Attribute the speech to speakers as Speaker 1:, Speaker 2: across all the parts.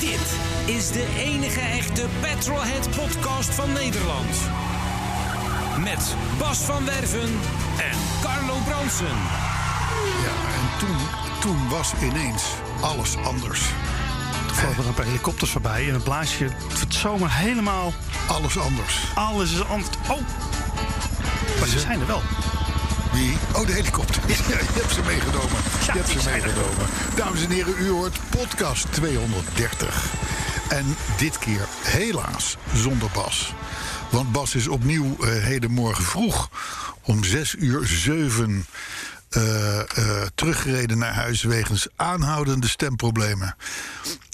Speaker 1: Dit is de enige echte Petrolhead podcast van Nederland. Met Bas van Werven en Carlo Bronsen.
Speaker 2: Ja, en toen, toen was ineens alles anders.
Speaker 3: Vlogen er een paar helikopters voorbij en het blaasje. Het wordt zomaar helemaal.
Speaker 2: Alles anders.
Speaker 3: Alles is anders. Oh! Maar ze zijn er wel.
Speaker 2: Wie? Oh, de helikopter. Ja, je hebt ze meegenomen. Je
Speaker 3: Ja,
Speaker 2: hebt
Speaker 3: die
Speaker 2: ze
Speaker 3: zijn er.
Speaker 2: meegenomen. Dames en heren, u hoort podcast 230. En dit keer helaas zonder Bas. Want Bas is opnieuw eh hedenmorgen vroeg om 6 uur 7 eh, eh, teruggereden naar huis wegens aanhoudende stemproblemen.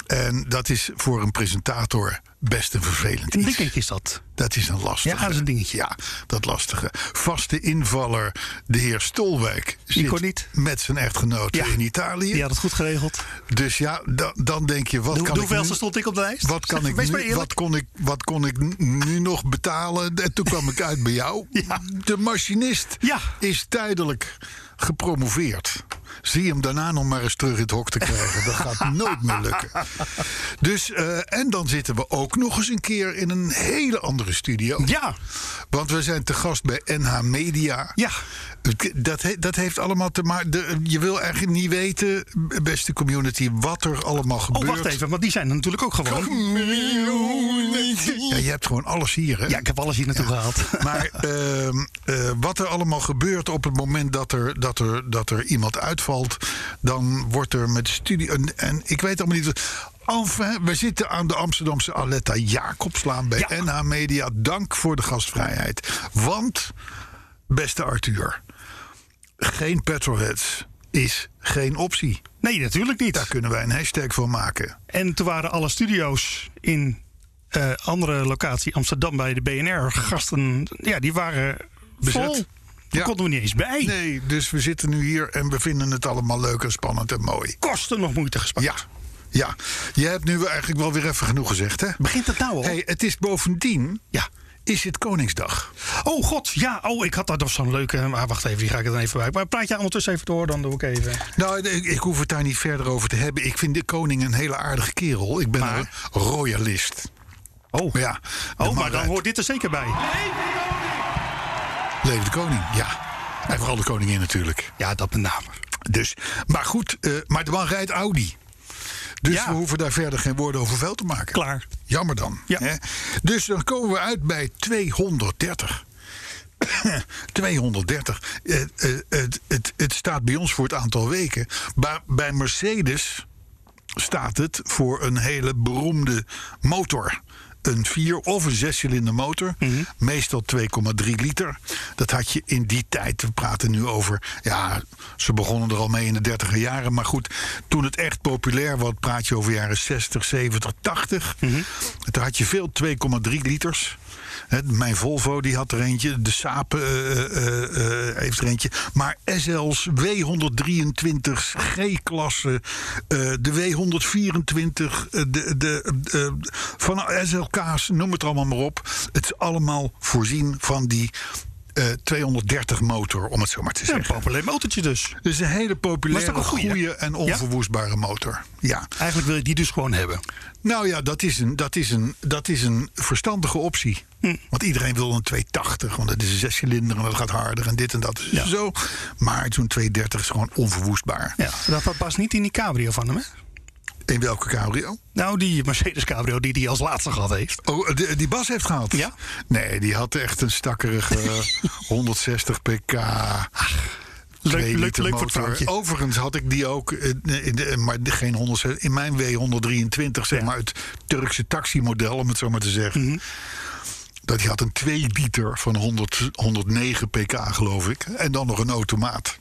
Speaker 2: En dat is voor een presentator best een vervelend
Speaker 3: Een
Speaker 2: iets.
Speaker 3: dingetje is dat.
Speaker 2: Dat is een lastige.
Speaker 3: Ja, dat is een dingetje.
Speaker 2: Ja, dat lastige. Vaste invaller, de heer Stolwijk, zit
Speaker 3: kon niet.
Speaker 2: met zijn echtgenoot
Speaker 3: Ja.
Speaker 2: in Italië.
Speaker 3: Die had het goed geregeld.
Speaker 2: Dus ja, da- dan denk je, wat
Speaker 3: De,
Speaker 2: kan ik nu...
Speaker 3: de hoeveelste stond ik op de lijst?
Speaker 2: Wat, kan
Speaker 3: Zeg,
Speaker 2: ik
Speaker 3: wees maar
Speaker 2: nu,
Speaker 3: eerlijk.
Speaker 2: wat, kon ik, wat kon ik n- nu nog betalen? En toen kwam ik uit bij jou.
Speaker 3: Ja.
Speaker 2: De machinist
Speaker 3: Ja.
Speaker 2: is tijdelijk gepromoveerd. Zie hem daarna nog maar eens terug in het hok te krijgen. Dat gaat nooit meer lukken. Dus, eh, en dan zitten we ook nog eens een keer in een hele andere studio.
Speaker 3: Ja.
Speaker 2: Want we zijn te gast bij NH Media.
Speaker 3: Ja.
Speaker 2: Het- Dat, he- dat heeft allemaal te maken. Je wil eigenlijk niet weten, beste community, wat er allemaal
Speaker 3: Oh,
Speaker 2: gebeurt.
Speaker 3: wacht even, want die zijn er natuurlijk ook gewoon.
Speaker 2: Ja, je hebt gewoon alles hier, hè?
Speaker 3: Ja, ik heb alles hier naartoe gehaald.
Speaker 2: Maar ehm, eh, wat er allemaal gebeurt op het moment dat er, dat, er, dat er iemand uitvalt, dan wordt er met studie. En, en ik weet allemaal niet. wat- Enfin, we zitten aan de Amsterdamse Aletta Jacobslaan bij
Speaker 3: Ja.
Speaker 2: NH Media. Dank voor de gastvrijheid. Want, beste Arthur, geen petrolheads is geen optie.
Speaker 3: Nee, natuurlijk
Speaker 2: Daar
Speaker 3: niet.
Speaker 2: kunnen wij een hashtag voor maken.
Speaker 3: En toen waren alle studio's in eh, andere locatie Amsterdam bij de BNR gasten. Ja, die waren
Speaker 2: Bezet.
Speaker 3: vol.
Speaker 2: Ja.
Speaker 3: Daar konden we niet eens bij.
Speaker 2: Nee, dus we zitten nu hier en we vinden het allemaal leuk en spannend en mooi.
Speaker 3: Kosten nog moeite gespaard.
Speaker 2: Ja. Ja, jij hebt nu eigenlijk wel weer even genoeg gezegd, hè?
Speaker 3: Begint het nou al?
Speaker 2: Hey, het is bovendien,
Speaker 3: Ja.
Speaker 2: is het Koningsdag.
Speaker 3: Oh god, ja. Oh, ik had daar nog zo'n leuke. Maar wacht even, die ga ik er dan even bij. Maar praat jij ondertussen even door, dan doe ik even.
Speaker 2: Nou, ik, ik hoef het daar niet verder over te hebben. Ik vind de koning een hele aardige kerel. Ik ben
Speaker 3: Maar?
Speaker 2: een royalist.
Speaker 3: Oh,
Speaker 2: Maar ja, de
Speaker 3: oh maar
Speaker 2: man
Speaker 3: dan
Speaker 2: rijdt.
Speaker 3: hoort dit er zeker bij.
Speaker 2: Leef de koning, ja. En vooral de koningin natuurlijk.
Speaker 3: Ja, dat met name.
Speaker 2: Dus, maar goed, eh, maar de man rijdt Audi. Dus
Speaker 3: Ja.
Speaker 2: we hoeven daar verder geen woorden over vuil te maken.
Speaker 3: Klaar.
Speaker 2: Jammer dan.
Speaker 3: Ja.
Speaker 2: Hè? Dus dan komen we uit bij 230. 230. Eh, eh, het, het, het staat bij ons voor het aantal weken. Maar bij Mercedes staat het voor een hele beroemde motor. Een vier- of een zescilinder motor. Meestal 2,3 liter. Dat had je in die tijd. We praten nu over. Ja, ze begonnen er al mee in de 30 jaren. Maar goed, toen het echt populair was, praat je over jaren 60, 70, 80. Toen had je veel 2,3 liters. Hè, mijn Volvo die had er eentje. De Saab eh, eh, eh, heeft er eentje. Maar SL's, W123's, G-klasse, eh, de W124, eh, de, de, eh, van SLK's, noem het allemaal maar op. Het is allemaal voorzien van die eh, 230 motor, om het zo maar te
Speaker 3: Ja, een
Speaker 2: zeggen.
Speaker 3: populair motortje dus.
Speaker 2: Dus een hele populaire,
Speaker 3: Maar is dat ook een
Speaker 2: goede
Speaker 3: goeie?
Speaker 2: en onverwoestbare motor. Ja.
Speaker 3: Eigenlijk wil je die dus gewoon hebben.
Speaker 2: Nou ja, dat is een, dat is een, dat is een verstandige optie.
Speaker 3: Hm.
Speaker 2: Want iedereen wil een 280, want het is een zescilinder en dat gaat harder en dit en dat.
Speaker 3: Ja.
Speaker 2: Zo. Maar zo'n 230 is gewoon onverwoestbaar.
Speaker 3: Ja, dat past niet in die cabrio van hem, hè?
Speaker 2: In welke cabrio?
Speaker 3: Nou, die Mercedes cabrio die hij als laatste gehad heeft.
Speaker 2: Oh, de- die Bas heeft gehad?
Speaker 3: Ja.
Speaker 2: Nee, die had echt een stakkerige 160 pk.
Speaker 3: Leuk,
Speaker 2: twee
Speaker 3: leuk, leuk
Speaker 2: liter
Speaker 3: voor het
Speaker 2: motor.
Speaker 3: vrouwtje.
Speaker 2: Overigens had ik die ook, eh, in de- maar de- geen 160, in mijn W123, zeg
Speaker 3: Ja. Mhm.
Speaker 2: maar, het Turkse taximodel, om het zo maar te zeggen. Dat die had een 2-liter van 100, 109 pk, geloof ik. En dan nog een automaat.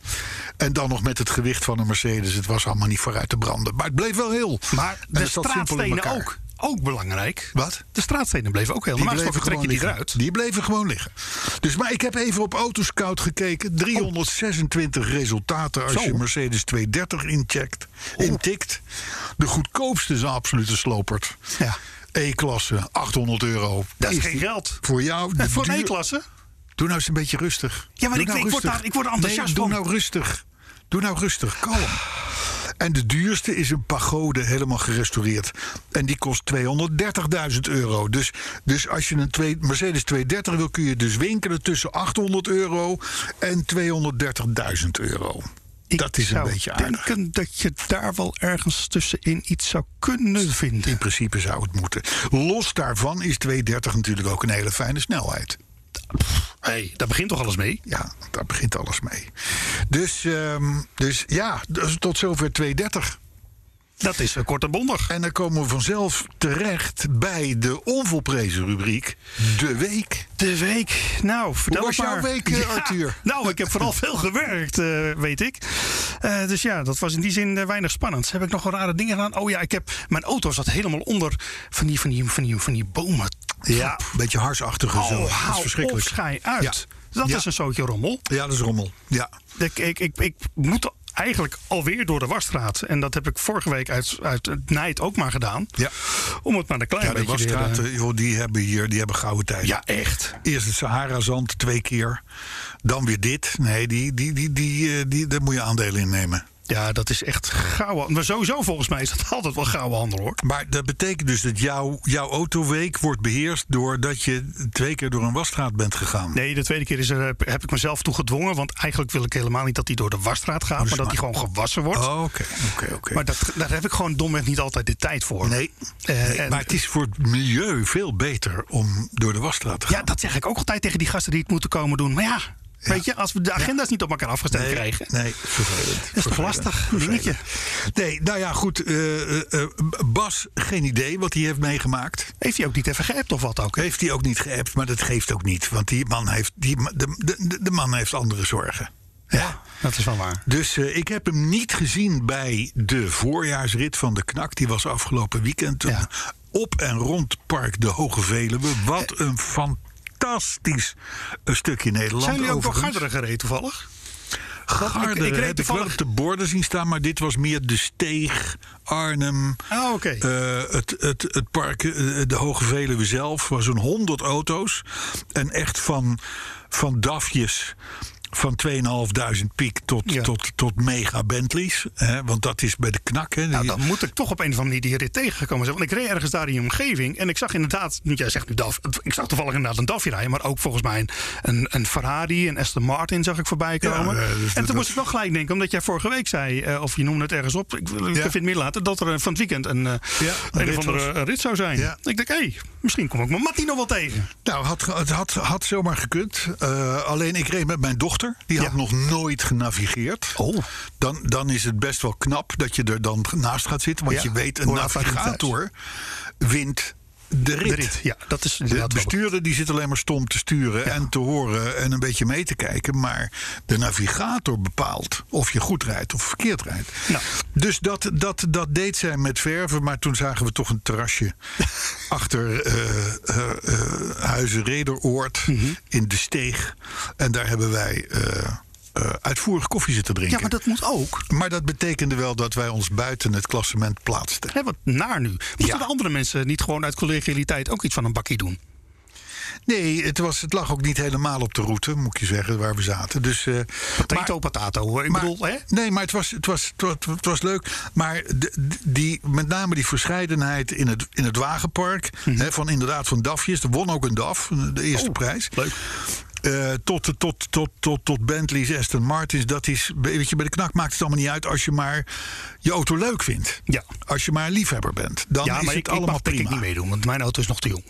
Speaker 2: En dan nog met het gewicht van een Mercedes. Het was allemaal niet vooruit te branden. Maar het bleef wel heel.
Speaker 3: Maar
Speaker 2: En
Speaker 3: de
Speaker 2: het zat simpel in
Speaker 3: straatstenen
Speaker 2: elkaar.
Speaker 3: ook. Ook belangrijk.
Speaker 2: Wat?
Speaker 3: De straatstenen bleven ook heel.
Speaker 2: Die
Speaker 3: Normaal
Speaker 2: bleven
Speaker 3: gesproken trek je
Speaker 2: gewoon
Speaker 3: die
Speaker 2: liggen.
Speaker 3: eruit.
Speaker 2: Die bleven gewoon liggen. Dus, maar ik heb even op Autoscout gekeken. 326 resultaten als
Speaker 3: Zo.
Speaker 2: je Mercedes 230 incheckt, intikt. De goedkoopste is een absolute slopert.
Speaker 3: Ja.
Speaker 2: E-klasse, 800 euro.
Speaker 3: Dat is geen
Speaker 2: die
Speaker 3: geld.
Speaker 2: Voor jou.
Speaker 3: En
Speaker 2: de
Speaker 3: Eh, voor een
Speaker 2: duur-
Speaker 3: E-klasse?
Speaker 2: Doe nou eens een beetje rustig.
Speaker 3: Ja, maar
Speaker 2: Doe
Speaker 3: ik-
Speaker 2: nou
Speaker 3: ik word
Speaker 2: rustig.
Speaker 3: daar- ik word er enthousiast
Speaker 2: nee, doe
Speaker 3: van.
Speaker 2: nou rustig. Doe nou rustig, kalm. En de duurste is een pagode helemaal gerestaureerd. En die kost 230.000 euro. Dus, dus als je een twee, Mercedes 230 wil, kun je dus winkelen tussen 800 euro en 230.000 euro.
Speaker 3: Ik
Speaker 2: dat is een
Speaker 3: zou
Speaker 2: beetje aardig.
Speaker 3: denken dat je daar wel ergens tussenin iets zou kunnen vinden.
Speaker 2: In principe zou het moeten. Los daarvan is 230 natuurlijk ook een hele fijne snelheid.
Speaker 3: hey, daar begint toch alles mee?
Speaker 2: Ja, daar begint alles mee. Dus, ehm, dus ja, dus tot zover 230.
Speaker 3: Dat is eh, kort en bondig.
Speaker 2: En dan komen we vanzelf terecht bij de onvolprezen rubriek De Week.
Speaker 3: De week. Nou, vertel
Speaker 2: was
Speaker 3: het
Speaker 2: jouw
Speaker 3: maar.
Speaker 2: week, eh, Arthur?
Speaker 3: Nou, ik heb vooral veel gewerkt, eh, weet ik. Eh, dus ja, dat was in die zin eh, weinig spannend. Heb ik nog wel rare dingen gedaan? Oh ja, ik heb, mijn auto zat helemaal onder van die, van die, van die, van die bomen.
Speaker 2: Ja, een beetje harsachtige zo.
Speaker 3: Oh,
Speaker 2: dat is
Speaker 3: hou op,
Speaker 2: verschrikkelijk.
Speaker 3: schij uit. Dat
Speaker 2: Ja.
Speaker 3: is een zootje rommel.
Speaker 2: Ja, dat is rommel. Ja.
Speaker 3: Ik, ik, ik, ik moet eigenlijk alweer door de wasstraat. En dat heb ik vorige week uit, uit het nijd ook maar gedaan.
Speaker 2: Ja.
Speaker 3: Om het maar een klein
Speaker 2: Ja, de
Speaker 3: beetje weer, eh,
Speaker 2: wasstraten, joh, die hebben hier die hebben gouden tijd.
Speaker 3: ja, echt.
Speaker 2: Eerst het Sahara-zand twee keer. Dan weer dit. Nee, die, die, die, die, eh, die, daar moet je aandelen in nemen.
Speaker 3: Ja, dat is echt gouden. Maar sowieso volgens mij is dat altijd wel gouden handel hoor.
Speaker 2: Maar dat betekent dus dat jouw, jouw autoweek wordt beheerst doordat je twee keer door een wasstraat bent gegaan.
Speaker 3: Nee, de tweede keer is er, heb ik mezelf toe gedwongen. Want eigenlijk wil ik helemaal niet dat die door de wasstraat gaat. maar dat die gewoon gewassen wordt.
Speaker 2: Oh, Oké, oké, oké.
Speaker 3: Maar dat, daar heb ik gewoon domweg niet altijd de tijd voor.
Speaker 2: Nee,
Speaker 3: Eh,
Speaker 2: nee,
Speaker 3: en-
Speaker 2: maar het is voor het milieu veel beter om door de wasstraat te gaan.
Speaker 3: Ja, dat zeg ik ook altijd tegen die gasten die het moeten komen doen. Maar ja, weet je, als we de agenda's niet op elkaar afgestemd
Speaker 2: nee,
Speaker 3: krijgen.
Speaker 2: Nee, vervelend. Dat
Speaker 3: is toch lastig, een dingetje.
Speaker 2: Nee, nou ja, goed. eh, eh, eh, Bas, geen idee wat hij heeft meegemaakt.
Speaker 3: Heeft hij ook niet even geappt of wat ook?
Speaker 2: Heeft hij ook niet geappt, maar dat geeft ook niet. Want die man heeft, die, ma- de, de, de man heeft andere zorgen. ja.
Speaker 3: Dat is wel waar.
Speaker 2: Dus eh, ik heb hem niet gezien bij de voorjaarsrit van de Knak. Die was afgelopen weekend eh,
Speaker 3: Ja.
Speaker 2: op en rond Park de Hoge Veluwe. Wat
Speaker 3: Eh,
Speaker 2: een fantastisch eh, stukje Nederland.
Speaker 3: Zijn jullie ook door
Speaker 2: overigens.
Speaker 3: Garderen gereden toevallig?
Speaker 2: Garderen heb
Speaker 3: Ik- ik reed
Speaker 2: ik wel
Speaker 3: toevallig-
Speaker 2: op de borden zien staan, maar dit was meer de Steeg, Arnhem.
Speaker 3: Ah, oké.
Speaker 2: eh, het, het, het park, eh, de Hoge Veluwe zelf, was zo'n 100 auto's. En echt van, van dafjes van 2500 piek tot,
Speaker 3: Ja.
Speaker 2: tot, tot mega Bentleys. Hè, want dat is bij de knak. Hè,
Speaker 3: Nou,
Speaker 2: Die-
Speaker 3: dan moet ik toch op een of andere manier die rit tegengekomen zijn. Want ik reed ergens daar in die omgeving en ik zag inderdaad, nu jij zegt nu DAF, ik zag toevallig inderdaad een DAFje rijden, maar ook volgens mij een, een, een Ferrari, een Aston Martin zag ik voorbij komen.
Speaker 2: Ja, eh, dus
Speaker 3: en
Speaker 2: dat-
Speaker 3: toen moest ik wel gelijk denken, omdat jij vorige week zei, eh, of je noemde het ergens op, ik, wil- ik
Speaker 2: Ja.
Speaker 3: vind het meer later, dat er eh, van het weekend een, eh,
Speaker 2: Ja, een
Speaker 3: een
Speaker 2: rit
Speaker 3: of andere eh, rit zou zijn.
Speaker 2: Ja.
Speaker 3: Ik denk, hé, hey, misschien kom ik mijn Mattie nog wel tegen.
Speaker 2: Nou, had, ge- het had, had zomaar gekund. Eh, alleen ik reed met mijn dochter. Die had
Speaker 3: Ja.
Speaker 2: nog nooit genavigeerd.
Speaker 3: Oh.
Speaker 2: Dan, dan is het best wel knap dat je er dan naast gaat zitten. Want
Speaker 3: Ja.
Speaker 2: je weet, een
Speaker 3: Hoe laat gaat hij
Speaker 2: navigator wint de rit.
Speaker 3: De rit, ja, dat is
Speaker 2: De
Speaker 3: inderdaad wel-
Speaker 2: bestuurder die zit alleen maar stom te sturen en te horen en een beetje mee te kijken. Maar de navigator bepaalt of je goed rijdt of verkeerd rijdt.
Speaker 3: Nou.
Speaker 2: Dus dat, dat, dat deed zij met verven. Maar toen zagen we toch een terrasje achter eh eh, eh, Huizen Rederoord
Speaker 3: Mhm.
Speaker 2: in de steeg. En daar hebben wij eh, eh, uitvoerig koffie zitten drinken.
Speaker 3: Ja, maar dat moet ook.
Speaker 2: Maar dat betekende wel dat wij ons buiten het klassement plaatsten.
Speaker 3: Hè, wat naar nu. Moeten
Speaker 2: Ja.
Speaker 3: de andere mensen niet gewoon uit collegialiteit ook iets van een bakkie doen?
Speaker 2: Nee, het, was, het lag ook niet helemaal op de route, moet ik je zeggen, waar we zaten. Dus, eh,
Speaker 3: Potato, patato. hoor. Ik
Speaker 2: maar-
Speaker 3: bedoel, hè?
Speaker 2: Nee, maar het was, het was, het was, het was leuk. Maar de- de- die, met name die verscheidenheid in het, in het wagenpark.
Speaker 3: Mhm.
Speaker 2: hè, van inderdaad van DAFjes. Er won ook een DAF, de eerste prijs.
Speaker 3: Oh, leuk.
Speaker 2: Eh, tot, tot, tot, tot, tot Bentley's, Aston Martins. Dat is, weet je, bij de knak maakt het allemaal niet uit als je maar je auto leuk vindt.
Speaker 3: Ja.
Speaker 2: Als je maar een liefhebber bent. Dan
Speaker 3: Ja,
Speaker 2: is
Speaker 3: maar
Speaker 2: het
Speaker 3: ik, ik
Speaker 2: allemaal
Speaker 3: mag denk
Speaker 2: prima.
Speaker 3: ik niet meedoen, want mijn auto is nog te jong.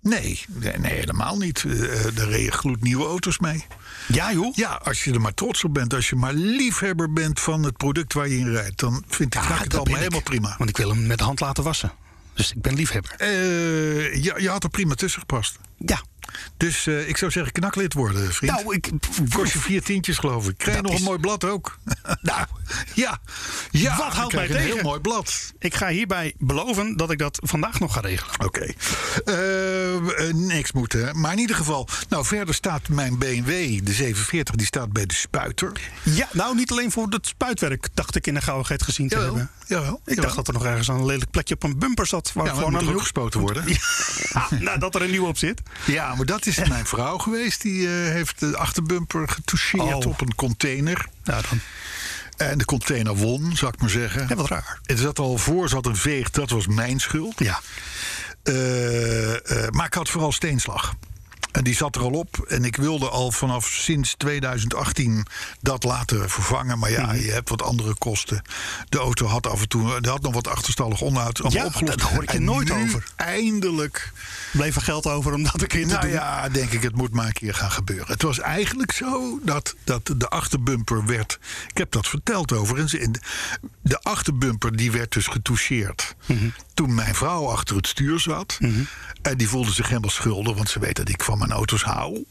Speaker 2: Nee, nee, nee, helemaal niet. Eh, er reden gloednieuwe auto's mee.
Speaker 3: Ja, joh.
Speaker 2: Ja, als je er maar trots op bent, als je maar liefhebber bent van het product waar je in rijdt, dan vindt ik
Speaker 3: Ja,
Speaker 2: het
Speaker 3: dat
Speaker 2: allemaal
Speaker 3: ben ik.
Speaker 2: helemaal prima.
Speaker 3: Want ik wil hem met de hand laten wassen. Dus ik ben liefhebber.
Speaker 2: Eh, ja, je had er prima tussen gepast.
Speaker 3: Ja.
Speaker 2: Dus eh, ik zou zeggen, knaklid worden, vriend.
Speaker 3: Nou, ik...
Speaker 2: Kost je vier tientjes, geloof ik. Krijg je
Speaker 3: Dat
Speaker 2: nog een
Speaker 3: is-
Speaker 2: mooi blad ook.
Speaker 3: Nou,
Speaker 2: ja. ja,
Speaker 3: Wat
Speaker 2: je
Speaker 3: houdt
Speaker 2: krijgt
Speaker 3: mij
Speaker 2: een
Speaker 3: tegen?
Speaker 2: heel mooi blad.
Speaker 3: ik ga hierbij beloven dat ik dat vandaag nog ga regelen.
Speaker 2: Oké. Eh, eh, niks moeten. hè. Maar in ieder geval, nou verder staat mijn BMW, de 740, die staat bij de spuiter.
Speaker 3: Ja, nou niet alleen voor het spuitwerk, dacht ik in de gauwigheid gezien te
Speaker 2: Jawel,
Speaker 3: hebben.
Speaker 2: jawel,
Speaker 3: Ik
Speaker 2: jawel.
Speaker 3: dacht dat er nog ergens een lelijk plekje op een bumper zat. Waar
Speaker 2: Ja, maar
Speaker 3: gewoon
Speaker 2: moet
Speaker 3: aan de
Speaker 2: er ook
Speaker 3: hoek-
Speaker 2: gespoten worden.
Speaker 3: Ah, nou, dat er een nieuwe op zit.
Speaker 2: Ja, maar dat is mijn vrouw geweest. Die eh, heeft de achterbumper getoucheerd
Speaker 3: Oh.
Speaker 2: op een container.
Speaker 3: Nou, dan.
Speaker 2: En de container won, zou ik maar zeggen.
Speaker 3: Ja, wat raar.
Speaker 2: Het zat al voor, zat een veeg, dat was mijn schuld.
Speaker 3: Ja.
Speaker 2: Eh, eh, maar ik had vooral steenslag. En die zat er al op. En ik wilde al vanaf sinds 2018 dat laten vervangen. Maar
Speaker 3: Mhm.
Speaker 2: ja, je hebt wat andere kosten. De auto had af en toe die had nog wat achterstallig onderhoud. allemaal
Speaker 3: Ja,
Speaker 2: opgelost.
Speaker 3: daar hoor ik je
Speaker 2: En
Speaker 3: nooit
Speaker 2: nu
Speaker 3: over.
Speaker 2: Eindelijk.
Speaker 3: Bleef er geld over om dat een keer te
Speaker 2: Nou
Speaker 3: doen.
Speaker 2: ja, denk ik, het moet maar een keer gaan gebeuren. Het was eigenlijk zo dat, dat de achterbumper werd. Ik heb dat verteld overigens. in de- De achterbumper die werd dus getoucheerd.
Speaker 3: Mhm.
Speaker 2: Toen mijn vrouw achter het stuur zat. En die voelde zich helemaal schuldig, want ze weet dat ik van mijn auto's hou.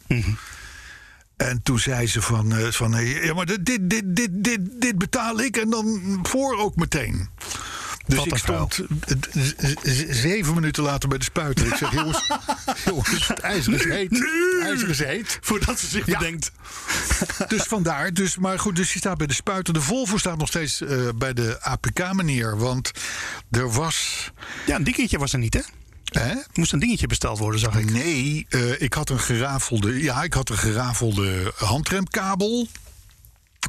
Speaker 2: En toen zei ze van, eh, van eh, ja, maar dit, dit, dit, dit, dit betaal ik en dan voor ook meteen. Dus
Speaker 3: Wat een
Speaker 2: ik stond eh, z- z- zeven minuten later bij de spuiter. Ik zeg, jongens, jongens het ijzer is heet. Het ijzer is heet.
Speaker 3: Voordat ze zich
Speaker 2: Ja.
Speaker 3: bedenkt.
Speaker 2: Dus vandaar. Dus, maar goed, dus die staat bij de spuiter. De Volvo staat nog steeds eh, bij de APK-meneer. Want er was...
Speaker 3: Ja, een dingetje was er niet, hè?
Speaker 2: Hè?
Speaker 3: Er moest een dingetje besteld worden, zag ik.
Speaker 2: Nee, eh, ik had een gerafelde. Ja, ik had een gerafelde handremkabel.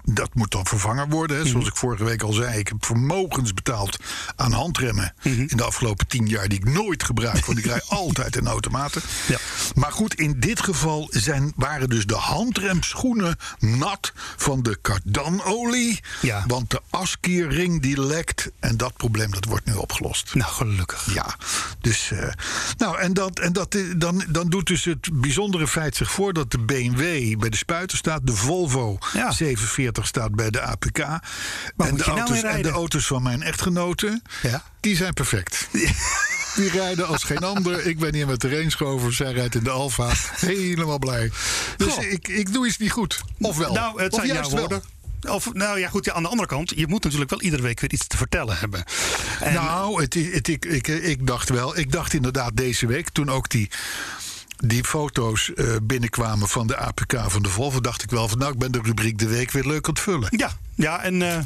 Speaker 2: Dat moet dan vervangen worden. Hè.
Speaker 3: Mhm.
Speaker 2: Zoals ik vorige week al zei, ik heb vermogens betaald aan handremmen.
Speaker 3: Mhm.
Speaker 2: In de afgelopen tien jaar, die ik nooit gebruik. Want ik rij altijd in automaten.
Speaker 3: Ja.
Speaker 2: Maar goed, in dit geval zijn, waren dus de handremschoenen nat van de kardanolie.
Speaker 3: Ja.
Speaker 2: Want de askierring die lekt. En dat probleem dat wordt nu opgelost.
Speaker 3: Nou, gelukkig.
Speaker 2: Ja, dus. eh, nou, en, dat, en dat, eh, dan, dan doet dus het bijzondere feit zich voor dat de BMW bij de spuiter staat. De Volvo
Speaker 3: Ja.
Speaker 2: 740 staat bij de APK. en,
Speaker 3: moet
Speaker 2: de
Speaker 3: je nou
Speaker 2: auto's,
Speaker 3: weer
Speaker 2: en de
Speaker 3: rijden?
Speaker 2: auto's van mijn echtgenoten,
Speaker 3: Ja.
Speaker 2: die zijn perfect. Die rijden als geen ander. Ik ben hier met de Range Rover. Zij rijdt in de Alfa. Helemaal blij. Dus
Speaker 3: Goh.
Speaker 2: ik, ik doe iets niet goed. Of wel.
Speaker 3: Nou, het
Speaker 2: of
Speaker 3: zijn
Speaker 2: juist
Speaker 3: jouw
Speaker 2: wel.
Speaker 3: woorden. Of, nou ja, goed, ja, aan de andere kant, je moet natuurlijk wel iedere week weer iets te vertellen hebben. En,
Speaker 2: Nou, het, i- het, ik, ik, ik dacht wel. Ik dacht inderdaad deze week, toen ook die, die foto's eh, binnenkwamen van de APK van de Volvo, dacht ik wel van nou, ik ben de rubriek de week weer leuk aan het vullen.
Speaker 3: ja, ja, en eh,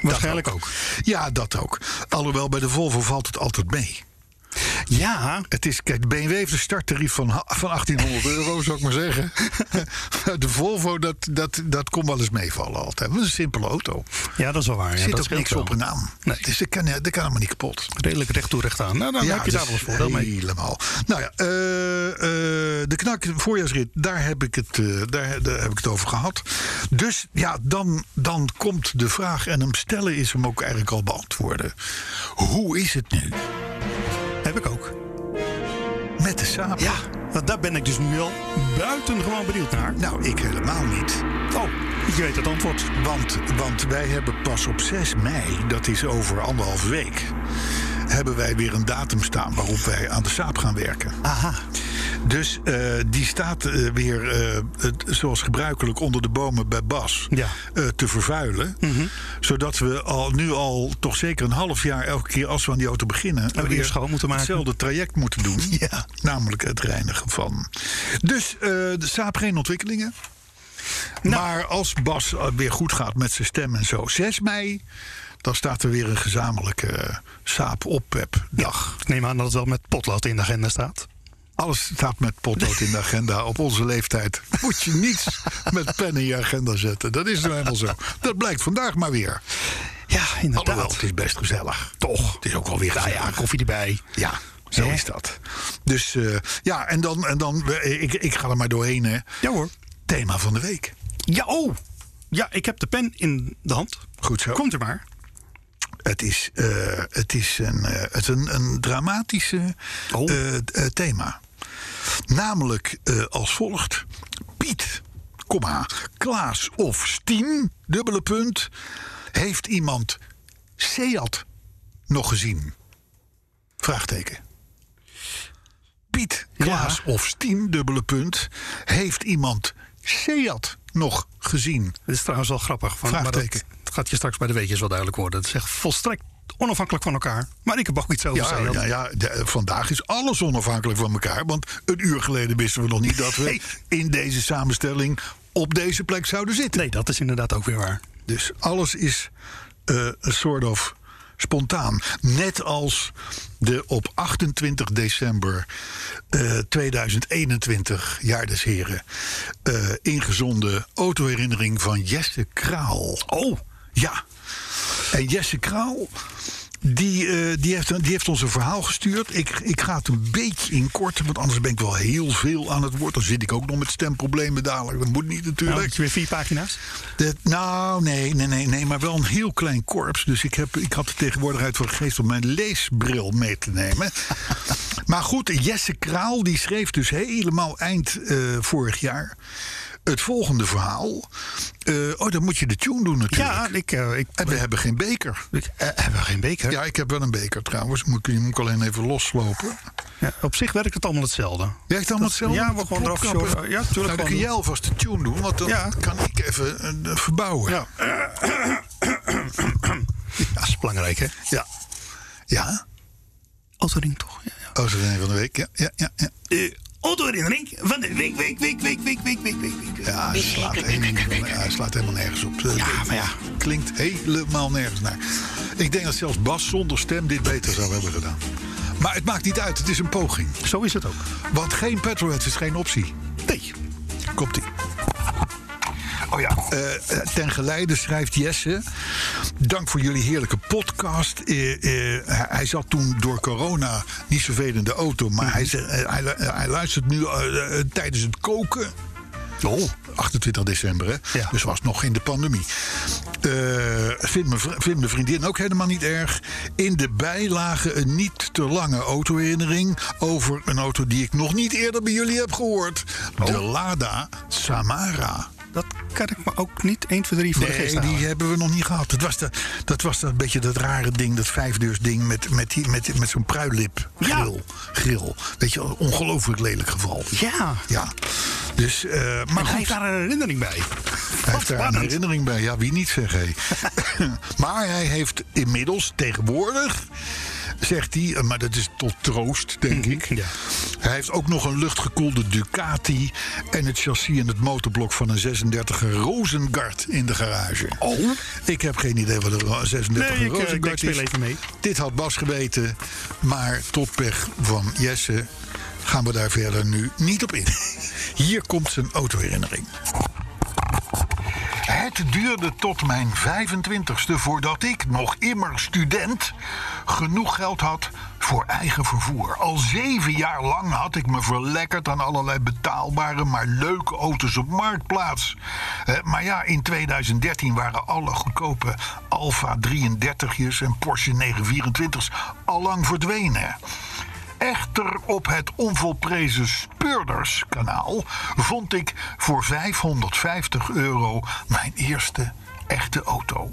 Speaker 3: waarschijnlijk ook.
Speaker 2: Ja, dat ook. Alhoewel, bij de Volvo valt het altijd mee.
Speaker 3: Ja,
Speaker 2: Het is, kijk, de BMW heeft een starttarief van, ha- van 1800 euro, zou ik maar zeggen. De Volvo, dat, dat, dat kon wel eens meevallen altijd. Dat is een simpele auto.
Speaker 3: ja, dat is wel waar. Ja,
Speaker 2: Er zit
Speaker 3: dat
Speaker 2: ook
Speaker 3: scheelt
Speaker 2: niks
Speaker 3: wel.
Speaker 2: op een naam.
Speaker 3: Nee.
Speaker 2: Dus dat kan, dat kan helemaal niet kapot.
Speaker 3: Redelijk recht toe, recht aan. Nou, dan heb je daar
Speaker 2: dus
Speaker 3: wel eens voordeel mee.
Speaker 2: Helemaal. Nou ja, eh, eh, de knak voorjaarsrit, daar heb ik het, eh, daar, daar heb ik het over gehad. Dus ja, dan, dan komt de vraag, en hem stellen is hem ook eigenlijk al beantwoorden. Hoe is het nu
Speaker 3: Heb ik ook.
Speaker 2: met de samen?
Speaker 3: Ja, want daar ben ik dus nu wel buitengewoon benieuwd naar.
Speaker 2: Nou, ik helemaal niet.
Speaker 3: Oh, je weet het antwoord.
Speaker 2: Want, want wij hebben pas op 6 mei, dat is over anderhalf week... hebben wij weer een datum staan waarop wij aan de saap gaan werken.
Speaker 3: Aha.
Speaker 2: Dus eh, die staat eh, weer, eh, het, zoals gebruikelijk, onder de bomen bij Bas
Speaker 3: Ja. Mhm.
Speaker 2: eh, te vervuilen. Zodat we al, nu al toch zeker een half jaar elke keer als we aan die auto beginnen...
Speaker 3: we die
Speaker 2: weer
Speaker 3: schoon moeten maken.
Speaker 2: hetzelfde traject moeten doen.
Speaker 3: Ja.
Speaker 2: Namelijk het reinigen van. Dus eh, de saap geen ontwikkelingen.
Speaker 3: Nou.
Speaker 2: Maar als Bas eh, weer goed gaat met zijn stem en zo, 6 mei... dan staat er weer een gezamenlijke eh, saap oppep dag
Speaker 3: Ik neem aan dat het wel met potlood in de agenda staat.
Speaker 2: alles staat met potlood in de agenda. Op onze leeftijd moet je niets met pen in je agenda zetten. Dat is nou helemaal zo. Dat blijkt vandaag maar weer.
Speaker 3: Ja,
Speaker 2: Alhoewel,
Speaker 3: inderdaad.
Speaker 2: het is best gezellig. Toch? Het is ook wel weer
Speaker 3: Nou ja,
Speaker 2: gezellig.
Speaker 3: koffie erbij.
Speaker 2: Ja, zo
Speaker 3: Hè?
Speaker 2: is dat. Dus eh, ja, en dan, en dan eh, ik, ik ga er maar doorheen. Hè.
Speaker 3: Ja hoor.
Speaker 2: Thema van de week.
Speaker 3: Ja, oh. Ja, ik heb de pen in de hand.
Speaker 2: Goed zo.
Speaker 3: Komt er maar.
Speaker 2: Het is, eh, het is een, eh, het is een, een dramatische
Speaker 3: Oh.
Speaker 2: eh, eh, thema. Namelijk eh, als volgt. Piet, komma, Klaas of Stien, dubbele punt. Heeft iemand Seat nog gezien? Vraagteken. Piet, Klaas of Steam, dubbele punt. Heeft iemand Seat nog gezien?
Speaker 3: Dit is trouwens wel grappig. want- maar dat,
Speaker 2: Vraagteken.
Speaker 3: dat gaat je straks bij de weetjes wel duidelijk worden. Het is echt volstrekt onafhankelijk van elkaar. Maar ik heb ook iets over
Speaker 2: Ja,
Speaker 3: Seat.
Speaker 2: ja, ja de- eh, vandaag is alles onafhankelijk van elkaar. Want een uur geleden wisten we nog niet dat we
Speaker 3: Nee.
Speaker 2: in deze samenstelling op deze plek zouden zitten.
Speaker 3: Nee, dat is inderdaad ook weer waar.
Speaker 2: Dus alles is eh, een soort of spontaan. Net als de op 28 december eh 2021, jaar des heren, eh, ingezonden autoherinnering van Jesse Kraal.
Speaker 3: Oh,
Speaker 2: Ja. En Jesse Kraal, die, eh, die, heeft, die heeft ons een verhaal gestuurd. Ik, ik ga het een beetje in kort, want anders ben ik wel heel veel aan het woord. Dan zit ik ook nog met stemproblemen dadelijk. Dat moet niet
Speaker 3: nou,
Speaker 2: natuurlijk.
Speaker 3: heb je weer vier pagina's?
Speaker 2: Dat- nou, nee, nee, nee, nee, maar wel een heel klein korps. Dus ik, heb, ik had de tegenwoordigheid voor de geest om mijn leesbril mee te nemen. maar goed, Jesse Kraal die schreef dus helemaal eind eh, vorig jaar het volgende verhaal. Eh, oh, dan moet je de tune doen natuurlijk.
Speaker 3: Ja, ik, eh, ik,
Speaker 2: En we hebben geen beker.
Speaker 3: ik- eh, hebben we geen beker.
Speaker 2: Ja, ik heb wel een beker trouwens. Moet ik, moet ik alleen even loslopen.
Speaker 3: Ja, op zich werkt het allemaal hetzelfde.
Speaker 2: Jij hebt allemaal hetzelfde?
Speaker 3: ja, we gewoon eraf
Speaker 2: Klopkappen?
Speaker 3: sjorren. Ja, tuurlijk,
Speaker 2: Nou, dan
Speaker 3: gewoon
Speaker 2: kun
Speaker 3: doen.
Speaker 2: jij alvast de tune doen, want dan
Speaker 3: Ja.
Speaker 2: kan ik even eh, verbouwen.
Speaker 3: Ja. dat is belangrijk, hè?
Speaker 2: Ja. ja.
Speaker 3: Autoring toch? Ja, ja.
Speaker 2: Oh, ze zijn van de week. Ja, ja, ja. ja.
Speaker 3: autoherinnering van de week, week, week, week, week, week, week, week.
Speaker 2: ja hij, slaat helemaal, hij slaat helemaal nergens op. Eh,
Speaker 3: Ja, maar ja.
Speaker 2: Klinkt helemaal nergens naar. Ik denk dat zelfs Bas zonder stem dit beter zou hebben gedaan. Maar het maakt niet uit, het is een poging.
Speaker 3: Zo is het ook.
Speaker 2: Want geen petrolheads is geen optie.
Speaker 3: Nee.
Speaker 2: Komt ie. Oh ja. ten geleide schrijft Jesse. Dank voor jullie heerlijke podcast. Eh, eh, hij- hij zat toen door corona niet zoveel in de auto. Maar hij, zegt, eh, hij, lu- eh, hij luistert nu eh, eh, tijdens het koken. Oh. 28 december, hè?
Speaker 3: Ja.
Speaker 2: Dus was nog in de pandemie. Eh vindt, mijn, vri- vindt mijn vriendin ook helemaal niet erg. In de bijlage een niet te lange autoherinnering... over een auto die ik nog niet eerder bij jullie heb gehoord. De Lada Samara.
Speaker 3: Dat kan ik me ook niet 1, 2, 3 voor de geest
Speaker 2: Nee,
Speaker 3: halen.
Speaker 2: die hebben we nog niet gehad. Dat was, de, dat, was dat beetje dat rare ding, dat vijfdeursding... met, met, die- met, met zo'n pruilip grill. grill. Weet je, ongelooflijk lelijk geval.
Speaker 3: Ja.
Speaker 2: Ja. Dus, eh, maar
Speaker 3: Maar hij
Speaker 2: goed.
Speaker 3: heeft daar een herinnering bij.
Speaker 2: Hij heeft daar een herinnering bij. Ja, wie niet, zeg hij. maar hij heeft inmiddels tegenwoordig, zegt hij... eh, maar dat is tot troost, denk ik.
Speaker 3: Mhm, Ja.
Speaker 2: Hij heeft ook nog een luchtgekoelde Ducati... en het chassis en het motorblok van een 36er Rosengard in de garage.
Speaker 3: Oh.
Speaker 2: Ik heb geen idee wat een 36er
Speaker 3: Nee, ik, eh, ik
Speaker 2: Rosengard
Speaker 3: speel
Speaker 2: is.
Speaker 3: even mee.
Speaker 2: Dit had Bas geweten, maar tot pech van Jesse... gaan we daar verder nu niet op in. Hier komt zijn autoherinnering. Het duurde tot mijn 25ste voordat ik, nog immer student, genoeg geld had voor eigen vervoer. Al zeven jaar lang had ik me verlekkerd aan allerlei betaalbare, maar leuke auto's op marktplaats. Eh, maar ja, in 2013 waren alle goedkope Alfa 33's en Porsche 924's allang verdwenen. Echter op het onvolprezen Speurderskanaal vond ik voor 550 euro mijn eerste echte auto.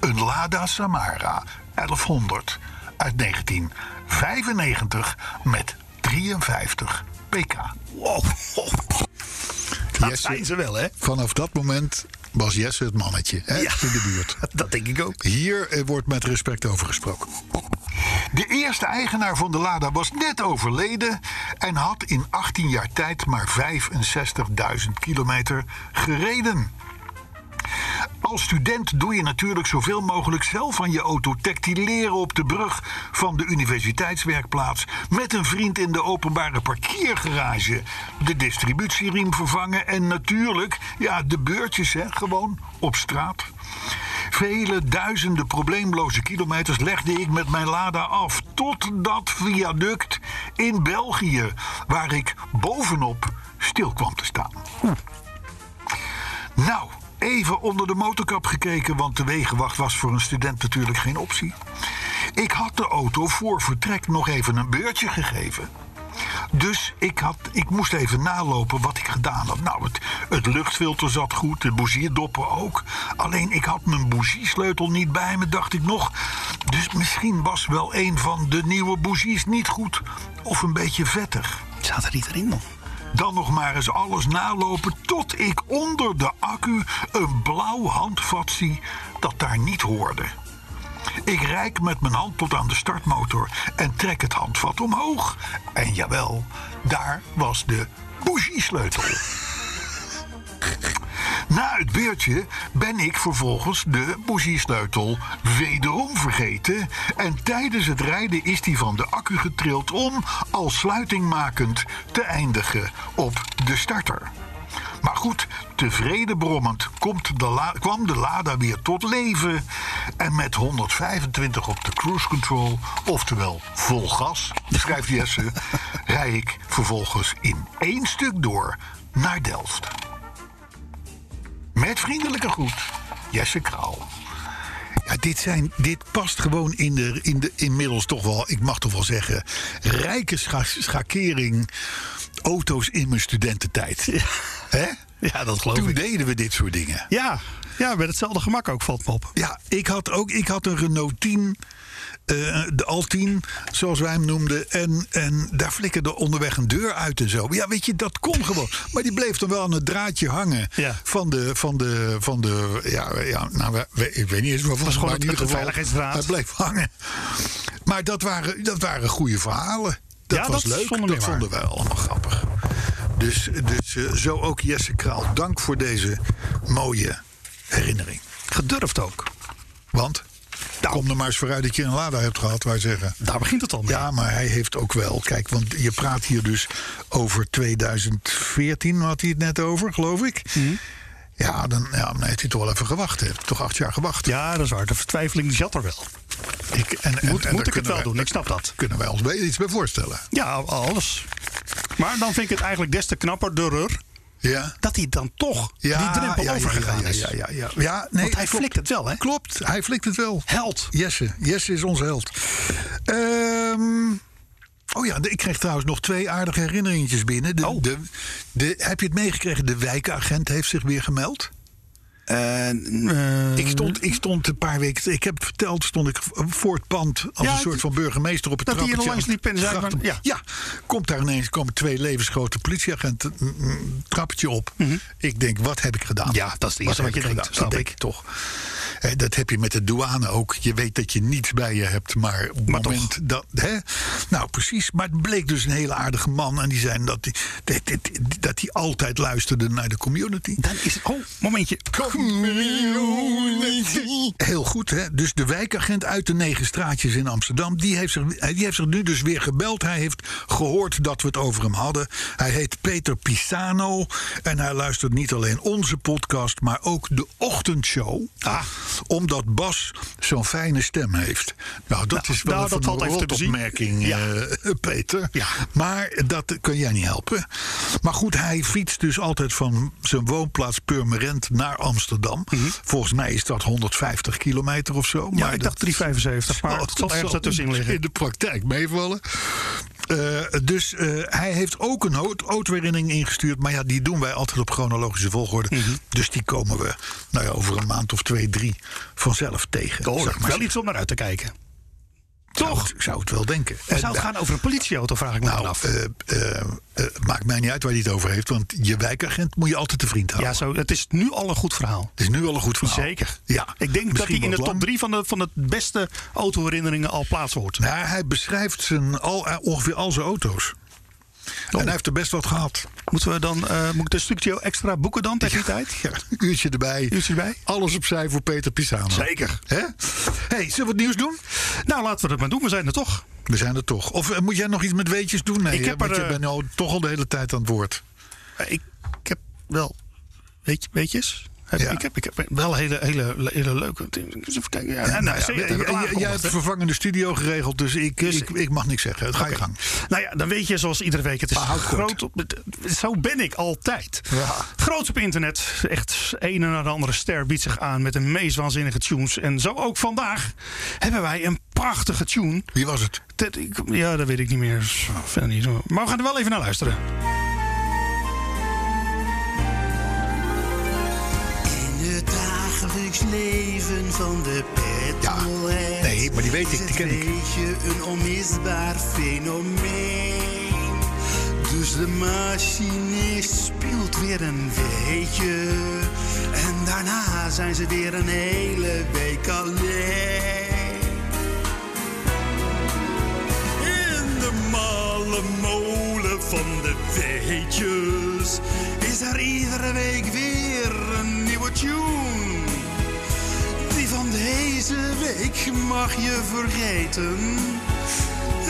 Speaker 2: Een Lada Samara 1100 uit 1995 met 53 pk.
Speaker 3: Wow. Dat zijn ze wel, hè?
Speaker 2: vanaf dat moment was Jesse het mannetje hè,
Speaker 3: Ja.
Speaker 2: in de buurt.
Speaker 3: Dat denk ik ook.
Speaker 2: Hier eh, wordt met respect over gesproken. De eerste eigenaar van de Lada was net overleden en had in 18 jaar tijd maar 65.000 kilometer gereden. Als student doe je natuurlijk zoveel mogelijk zelf aan je auto tactileren op de brug van de universiteitswerkplaats. Met een vriend in de openbare parkeergarage. De distributieriem vervangen en natuurlijk, ja, de beurtjes, hè, gewoon op straat. Vele duizenden probleemloze kilometers legde ik met mijn Lada af. Tot dat viaduct in België, waar ik bovenop stil kwam te staan. Nou, even onder de motorkap gekeken, want de wegenwacht was voor een student natuurlijk geen optie. Ik had de auto voor vertrek nog even een beurtje gegeven. Dus ik, had, ik moest even nalopen wat ik gedaan had. Nou, het, het luchtfilter zat goed, de boezierdoppen ook. Alleen ik had mijn boeziersleutel niet bij me, dacht ik nog. Dus misschien was wel een van de nieuwe bougies niet goed. Of een beetje vettig.
Speaker 3: Zat er niet erin, man.
Speaker 2: Dan nog maar eens alles nalopen tot ik onder de accu een blauw handvat zie dat daar niet hoorde. Ik reik met mijn hand tot aan de startmotor en trek het handvat omhoog. En jawel, daar was de bougie-sleutel. Na het beurtje ben ik vervolgens de bougie-sleutel wederom vergeten. En tijdens het rijden is die van de accu getrild om, als sluitingmakend, te eindigen op de starter. Maar goed, tevreden brommend komt de la- kwam de Lada weer tot leven. En met 125 op de cruise control, oftewel vol gas, schrijft Jesse, rij ik vervolgens in één stuk door naar Delft. Met vriendelijke groet, Jesse Kraal. Ja, dit, zijn, dit past gewoon in de, in de inmiddels toch wel, ik mag toch wel zeggen, rijke scha- schakering auto's in mijn studententijd. Hè?
Speaker 3: Ja, dat geloof
Speaker 2: Toen
Speaker 3: ik.
Speaker 2: deden we dit soort dingen.
Speaker 3: Ja, ja, met hetzelfde gemak ook valt me op.
Speaker 2: Ja, ik had ook ik had een Renault 10, eh, de Altin, zoals wij hem noemden. En, en daar flikkerde onderweg een deur uit en zo. Ja, weet je, dat kon gewoon. Maar die bleef dan wel aan het draadje hangen
Speaker 3: Ja.
Speaker 2: van de, van de, van de, ja, ja nou, we- we- ik weet niet eens waarvan.
Speaker 3: was gewoon
Speaker 2: maar in
Speaker 3: een-
Speaker 2: ieder
Speaker 3: een
Speaker 2: geval,
Speaker 3: veiligheidsdraad.
Speaker 2: Hij bleef hangen. Maar dat waren, dat waren goede verhalen. Dat
Speaker 3: Ja,
Speaker 2: was
Speaker 3: dat
Speaker 2: leuk.
Speaker 3: vonden we
Speaker 2: dat
Speaker 3: waar.
Speaker 2: vonden wij allemaal grappig. Dus, dus eh, zo ook Jesse Kraal. Dank voor deze mooie herinnering.
Speaker 3: Gedurfd ook.
Speaker 2: Want?
Speaker 3: Nou.
Speaker 2: Kom er maar eens vooruit dat je een Lada hebt gehad, wij zeggen.
Speaker 3: Daar begint het al mee.
Speaker 2: Ja, maar hij heeft ook wel. Kijk, want je praat hier dus over 2014, had hij het net over, geloof ik.
Speaker 3: Mhm.
Speaker 2: Ja, dan, ja, dan heeft hij toch wel even gewacht. Hè. Toch acht jaar gewacht.
Speaker 3: Ja, dat is waar. De vertwijfeling zat er wel.
Speaker 2: Ik, en, en-
Speaker 3: Moet,
Speaker 2: en daar
Speaker 3: moet ik het
Speaker 2: kunnen
Speaker 3: wel
Speaker 2: wij-
Speaker 3: doen? Ik snap dat.
Speaker 2: Kunnen wij ons wel iets bij voorstellen?
Speaker 3: Ja, alles. Maar dan vind ik het eigenlijk des te knapper, de rur,
Speaker 2: Ja.
Speaker 3: dat hij dan toch
Speaker 2: ja
Speaker 3: die drempel
Speaker 2: ja, ja,
Speaker 3: overgegaan
Speaker 2: ja,
Speaker 3: is.
Speaker 2: Ja, ja, ja, Ja, nee,
Speaker 3: Want hij
Speaker 2: klopt.
Speaker 3: flikt het wel, hè?
Speaker 2: Klopt, hij flikt het wel.
Speaker 3: Held.
Speaker 2: Jesse. Jesse is onze held. Ehm, oh ja, de- ik kreeg trouwens nog twee aardige herinneringetjes binnen. De,
Speaker 3: Oh.
Speaker 2: de, de, heb je het meegekregen? De wijkagent heeft zich weer gemeld.
Speaker 3: Eh, Mhm.
Speaker 2: Ik stond, ik stond een paar weken... Ik heb verteld, stond ik voor het pand... als
Speaker 3: Ja,
Speaker 2: een soort van burgemeester op het
Speaker 3: dat hij er
Speaker 2: trappetje.
Speaker 3: langs liep en zei
Speaker 2: Gracht-
Speaker 3: van,
Speaker 2: ja.
Speaker 3: ja.
Speaker 2: komt daar ineens komen twee levensgrote politieagenten... mm, mm, trappetje op. Ik denk, wat heb ik gedaan?
Speaker 3: Mhm. Ja, dat is het eerste wat
Speaker 2: heb
Speaker 3: je
Speaker 2: ik
Speaker 3: denkt,
Speaker 2: gedaan?
Speaker 3: snap
Speaker 2: Dat denk
Speaker 3: ik.
Speaker 2: ik toch. Hè, Dat heb je met de douane ook. Je weet dat je niets bij je hebt, maar op het
Speaker 3: Maar toch.
Speaker 2: moment dat... Hè? Nou, precies. Maar het bleek dus een hele aardige man. En die zei dat hij dat, dat, dat hij altijd luisterde naar de community.
Speaker 3: Dan is het... Oh, momentje.
Speaker 2: Heel goed, hè? Dus de wijkagent uit de negen straatjes in Amsterdam... Die heeft, zich, die heeft zich nu dus weer gebeld. Hij heeft gehoord dat we het over hem hadden. Hij heet Peter Pisano. En hij luistert niet alleen onze podcast, maar ook de ochtendshow.
Speaker 3: Ah.
Speaker 2: Omdat Bas zo'n fijne stem heeft. Nou, dat
Speaker 3: Nou,
Speaker 2: is wel
Speaker 3: nou,
Speaker 2: even
Speaker 3: dat valt
Speaker 2: een
Speaker 3: even te bezien.
Speaker 2: rotopmerking,
Speaker 3: Ja.
Speaker 2: eh, eh, Peter.
Speaker 3: Ja.
Speaker 2: Maar dat kun jij niet helpen. Maar goed, hij fietst dus altijd van zijn woonplaats Purmerend naar Amsterdam. Volgens mij is dat 150 kilometer of zo.
Speaker 3: Mhm. Ja, ik dacht 3,75,
Speaker 2: Oh,
Speaker 3: maar het zal ergens ertussenin
Speaker 2: In
Speaker 3: liggen.
Speaker 2: de praktijk meevallen. Eh, dus eh, hij heeft ook een ho- autoherinnering ingestuurd. Maar ja, die doen wij altijd op chronologische volgorde.
Speaker 3: Mhm.
Speaker 2: Dus die komen we nou ja, over een maand of twee, drie vanzelf tegen.
Speaker 3: Oh,
Speaker 2: zeg maar.
Speaker 3: wel iets om naar uit te kijken.
Speaker 2: Zou
Speaker 3: Toch?
Speaker 2: het- zou het wel denken. En
Speaker 3: Zou het gaan over een politieauto, vraag ik me dan
Speaker 2: Nou,
Speaker 3: af.
Speaker 2: eh, eh, eh, maakt mij niet uit waar hij het over heeft. Want je wijkagent moet je altijd te vriend houden.
Speaker 3: Ja, zo, het is nu al een goed verhaal.
Speaker 2: Het is nu al een goed verhaal.
Speaker 3: Zeker.
Speaker 2: Nou, Ja,
Speaker 3: Ik denk dat hij
Speaker 2: misschien
Speaker 3: in
Speaker 2: wat
Speaker 3: de top
Speaker 2: lang.
Speaker 3: 3 van de, van de beste autoherinneringen al plaats hoort.
Speaker 2: Nou, hij beschrijft zijn, al, eh, ongeveer al zijn auto's.
Speaker 3: Oh.
Speaker 2: En hij heeft er best wat gehad.
Speaker 3: Moeten we dan, eh, moet ik een stukje extra boeken dan tegen die tijd?
Speaker 2: Ja, uurtje erbij.
Speaker 3: Uurtje erbij?
Speaker 2: Alles opzij voor Peter Pisano.
Speaker 3: Zeker.
Speaker 2: Hè? hey, zullen we het nieuws doen?
Speaker 3: Nou, laten we dat maar doen. We zijn er toch.
Speaker 2: We zijn er toch. Of eh, moet jij nog iets met weetjes doen? Nee,
Speaker 3: Ik
Speaker 2: hè,
Speaker 3: heb
Speaker 2: want
Speaker 3: er,
Speaker 2: je
Speaker 3: eh,
Speaker 2: bent al, toch al de hele tijd aan het woord.
Speaker 3: Ik, ik heb wel. Weet je, weetjes? Heb-
Speaker 2: Ja.
Speaker 3: Ik, heb, ik heb wel hele, hele, hele leuke. Even kijken. Ja, nou,
Speaker 2: Nou ja,
Speaker 3: zeker,
Speaker 2: jij-
Speaker 3: heb ik
Speaker 2: jij-
Speaker 3: al
Speaker 2: jij
Speaker 3: aangekondigd,
Speaker 2: hebt
Speaker 3: hè.
Speaker 2: een vervangende studio geregeld, dus ik, ik, ik mag niks zeggen. Het ga je gang.
Speaker 3: Nou ja, dan weet je zoals iedere week. Het is
Speaker 2: Maar houd kort.
Speaker 3: groot. Op, het- zo ben ik altijd.
Speaker 2: Ja.
Speaker 3: Groot op internet. Echt een en de andere ster biedt zich aan met de meest waanzinnige tunes. En zo ook vandaag hebben wij een prachtige tune.
Speaker 2: Wie was het?
Speaker 3: Ted, ik- ja, dat weet ik niet meer. Zo, verder Niet zo. Maar we gaan er wel even naar luisteren.
Speaker 4: In het dagelijks dagelijks leven van de petrolhead.
Speaker 5: nee, maar die weet ik,
Speaker 4: is
Speaker 5: die
Speaker 4: het
Speaker 5: ken ik.
Speaker 4: beetje een onmisbaar fenomeen. Dus de machinist speelt weer een weetje. En daarna zijn ze weer een hele week alleen. In de malle molen van de weetjes is er iedere week weer een nieuwe tune. Die van deze week mag je vergeten.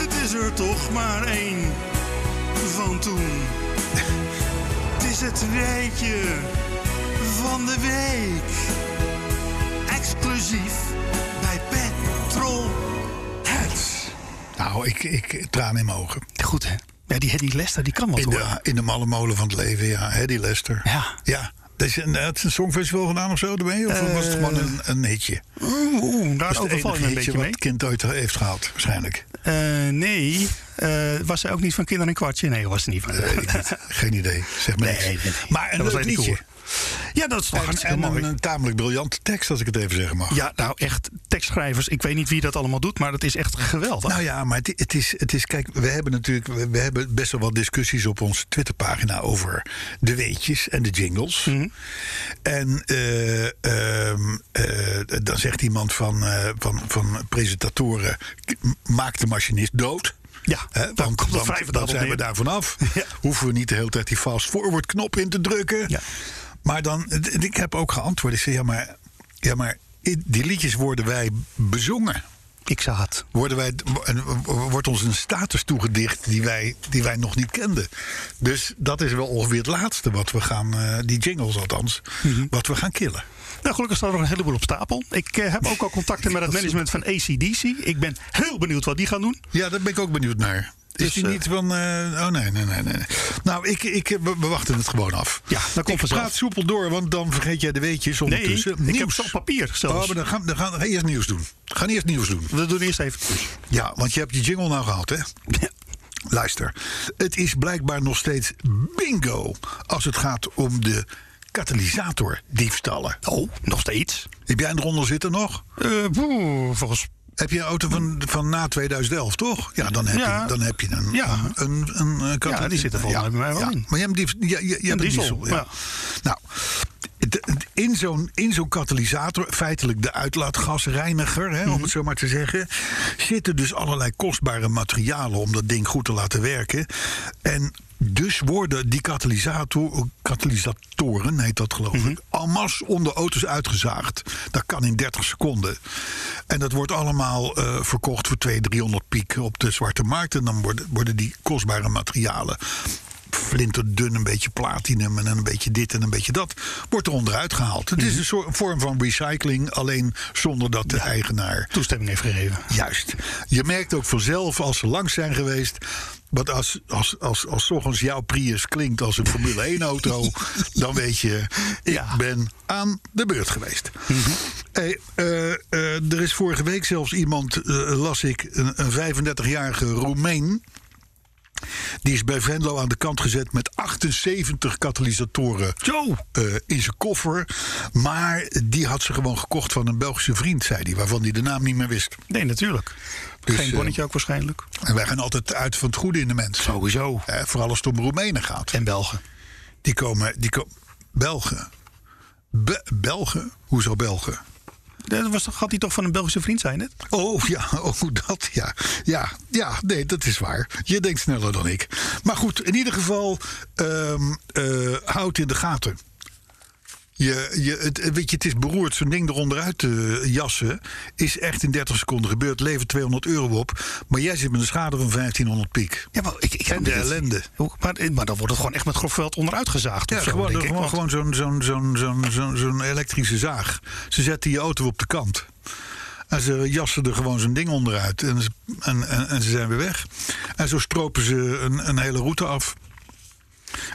Speaker 4: Het is er toch maar één van toen. Het is het weetje van de week. Exclusief bij Petrol Heads.
Speaker 2: Nou, ik, ik traan in mijn ogen.
Speaker 3: Goed, hè? Ja, die Hedy Lester, die kan wat
Speaker 2: In
Speaker 3: hoor.
Speaker 2: de, in de malle molen van het leven, ja. Hè, die Lester.
Speaker 3: Ja.
Speaker 2: Ja. Dat is een, dat is een songfestival gedaan of zo ermee? Of
Speaker 3: Eh,
Speaker 2: was het gewoon een, een hitje?
Speaker 3: Oeh, oeh, daar
Speaker 2: Dat is het
Speaker 3: overval
Speaker 2: enige
Speaker 3: je me Dus een beetje
Speaker 2: hitje wat
Speaker 3: mee.
Speaker 2: het kind ooit heeft gehaald, waarschijnlijk.
Speaker 3: Eh, nee, eh, was zij ook niet van kinderen een kwartje? Nee, was ze niet van.
Speaker 2: Dat weet ik niet. Geen idee, zeg maar niks. Maar een
Speaker 3: dat was
Speaker 2: leuk
Speaker 3: alleen die
Speaker 2: liedje.
Speaker 3: koer. Ja, dat is toch
Speaker 2: En,
Speaker 3: hartstikke
Speaker 2: en
Speaker 3: mooi.
Speaker 2: een, een tamelijk briljante tekst, als ik het even zeggen mag.
Speaker 3: ja, nou echt, tekstschrijvers. Ik weet niet wie dat allemaal doet, maar dat is echt geweldig.
Speaker 2: Nou ja, maar het, het, is, het is. Kijk, we hebben natuurlijk. We, we hebben best wel wat discussies op onze Twitterpagina over de weetjes en de jingles.
Speaker 3: Mhm.
Speaker 2: En eh, ehm, eh, dan zegt iemand van, eh, van, van presentatoren: "K- maak de machinist dood.
Speaker 3: Ja,
Speaker 2: Hè,
Speaker 3: dan
Speaker 2: want
Speaker 3: komt het
Speaker 2: dan,
Speaker 3: vrij
Speaker 2: dan
Speaker 3: verdacht op
Speaker 2: zijn we
Speaker 3: neer.
Speaker 2: daar vanaf.
Speaker 3: Ja.
Speaker 2: Hoeven we niet de hele tijd die fast forward knop in te drukken.
Speaker 3: Ja.
Speaker 2: Maar dan, d- ik heb ook geantwoord. Ik zei: ja, maar, ja, maar i- die liedjes worden wij bezongen
Speaker 3: Ik zag het.
Speaker 2: worden wij, en wordt ons een status toegedicht die wij, die wij nog niet kenden. Dus dat is wel ongeveer het laatste wat we gaan, eh, die jingles althans,
Speaker 3: Mhm.
Speaker 2: wat we gaan killen.
Speaker 3: Nou, gelukkig staat er nog een heleboel op stapel. Ik eh, heb ook al contacten met het management van ACDC. Ik ben heel benieuwd wat die gaan doen.
Speaker 2: Ja, daar ben ik ook benieuwd naar. Is
Speaker 3: Dus,
Speaker 2: die
Speaker 3: eh,
Speaker 2: niet van. eh, oh nee, nee, nee, nee. nee. Nou, ik, ik, we, we wachten het gewoon af.
Speaker 3: Ja, dat komt
Speaker 2: ik
Speaker 3: vanzelf.
Speaker 2: praat soepel door, want dan vergeet jij de weetjes
Speaker 3: Nee,
Speaker 2: ondertussen.
Speaker 3: ik heb ze op papier zelfs.
Speaker 2: Oh, maar dan gaan, dan gaan we eerst nieuws doen. We gaan eerst nieuws doen.
Speaker 3: We doen eerst even.
Speaker 2: Ja, want je hebt je jingle nou gehad, hè? Luister, het is blijkbaar nog steeds bingo als het gaat om de katalysatordiefstallen.
Speaker 3: Oh, nog steeds.
Speaker 2: Heb jij eronder zitten nog?
Speaker 3: Eh, boe, volgens
Speaker 2: Heb je een auto van, van na 2011, toch? Ja, dan heb,
Speaker 3: Ja.
Speaker 2: Je, dan heb je een,
Speaker 3: Ja.
Speaker 2: een, een, een eh, katalysator.
Speaker 3: Ja, die zitten volgens mij bij mij wel in.
Speaker 2: Maar je hebt, die, je, je, je hebt een
Speaker 3: diesel,
Speaker 2: diesel. ja.
Speaker 3: ja.
Speaker 2: Nou, het- het- in zo'n in zo'n katalysator, feitelijk de uitlaatgasreiniger, hè, om het zo maar te zeggen, zitten dus allerlei kostbare materialen om dat ding goed te laten werken. En dus worden die katalysator, katalysatoren, heet dat geloof ik, en masse onder auto's uitgezaagd. Dat kan in 30 seconden. En dat wordt allemaal eh, verkocht voor 200, 300 piek op de zwarte markt. En dan worden, worden die kostbare materialen flinterdun, een beetje platinum en een beetje dit en een beetje dat, wordt er onderuit gehaald. Het is een soort een vorm van recycling, alleen zonder dat de eigenaar.
Speaker 3: toestemming heeft gegeven.
Speaker 2: Juist. Je merkt ook vanzelf als ze langs zijn geweest. Want als, als, als, als 's ochtends jouw Prius klinkt als een Formule 1-auto. dan weet je, ik
Speaker 3: Ja.
Speaker 2: ben aan de beurt geweest. Hey, eh, eh, er is vorige week zelfs iemand, eh, las ik, een, een 35-jarige Roemeen. Die is bij Venlo aan de kant gezet met 78 katalysatoren
Speaker 3: Zo!
Speaker 2: eh, in zijn koffer. Maar die had ze gewoon gekocht van een Belgische vriend, zei hij, waarvan hij de naam niet meer wist.
Speaker 3: Nee, natuurlijk.
Speaker 2: Dus,
Speaker 3: Geen
Speaker 2: eh,
Speaker 3: bonnetje ook waarschijnlijk.
Speaker 2: En wij gaan altijd uit van het goede in de mens.
Speaker 3: Sowieso.
Speaker 2: Eh, vooral als het om Roemenen gaat.
Speaker 3: En Belgen.
Speaker 2: Die komen. Die ko- Belgen. Be- Belgen? Hoezo Belgen?
Speaker 3: Dat was, toch- had hij toch van een Belgische vriend zijn, net?
Speaker 2: Oh ja, oh dat ja. Ja, ja, nee, dat is waar. Je denkt sneller dan ik. Maar goed, in ieder geval, ehm eh, houd in de gaten. Je, je, het, eh, weet je, het is beroerd. Zo'n ding eronder uit te jassen is echt in 30 seconden gebeurd. Levert 200 euro op. Maar jij zit met een schade van 1500 piek.
Speaker 3: Ja, maar ik... ik
Speaker 2: En de ellende.
Speaker 3: Hoe- Maar, maar dan wordt het gewoon echt met grof veld onderuit gezaagd.
Speaker 2: Ja,
Speaker 3: of zo,
Speaker 2: gewoon,
Speaker 3: denk ik,
Speaker 2: gewoon,
Speaker 3: want-
Speaker 2: gewoon zo'n zo'n zo'n zo'n zo'n zo'n elektrische zaag. Ze zetten je auto op de kant. En ze jassen er gewoon zo'n ding onderuit. En, ze- en, en, en ze zijn weer weg. En zo stropen ze een, een hele route af.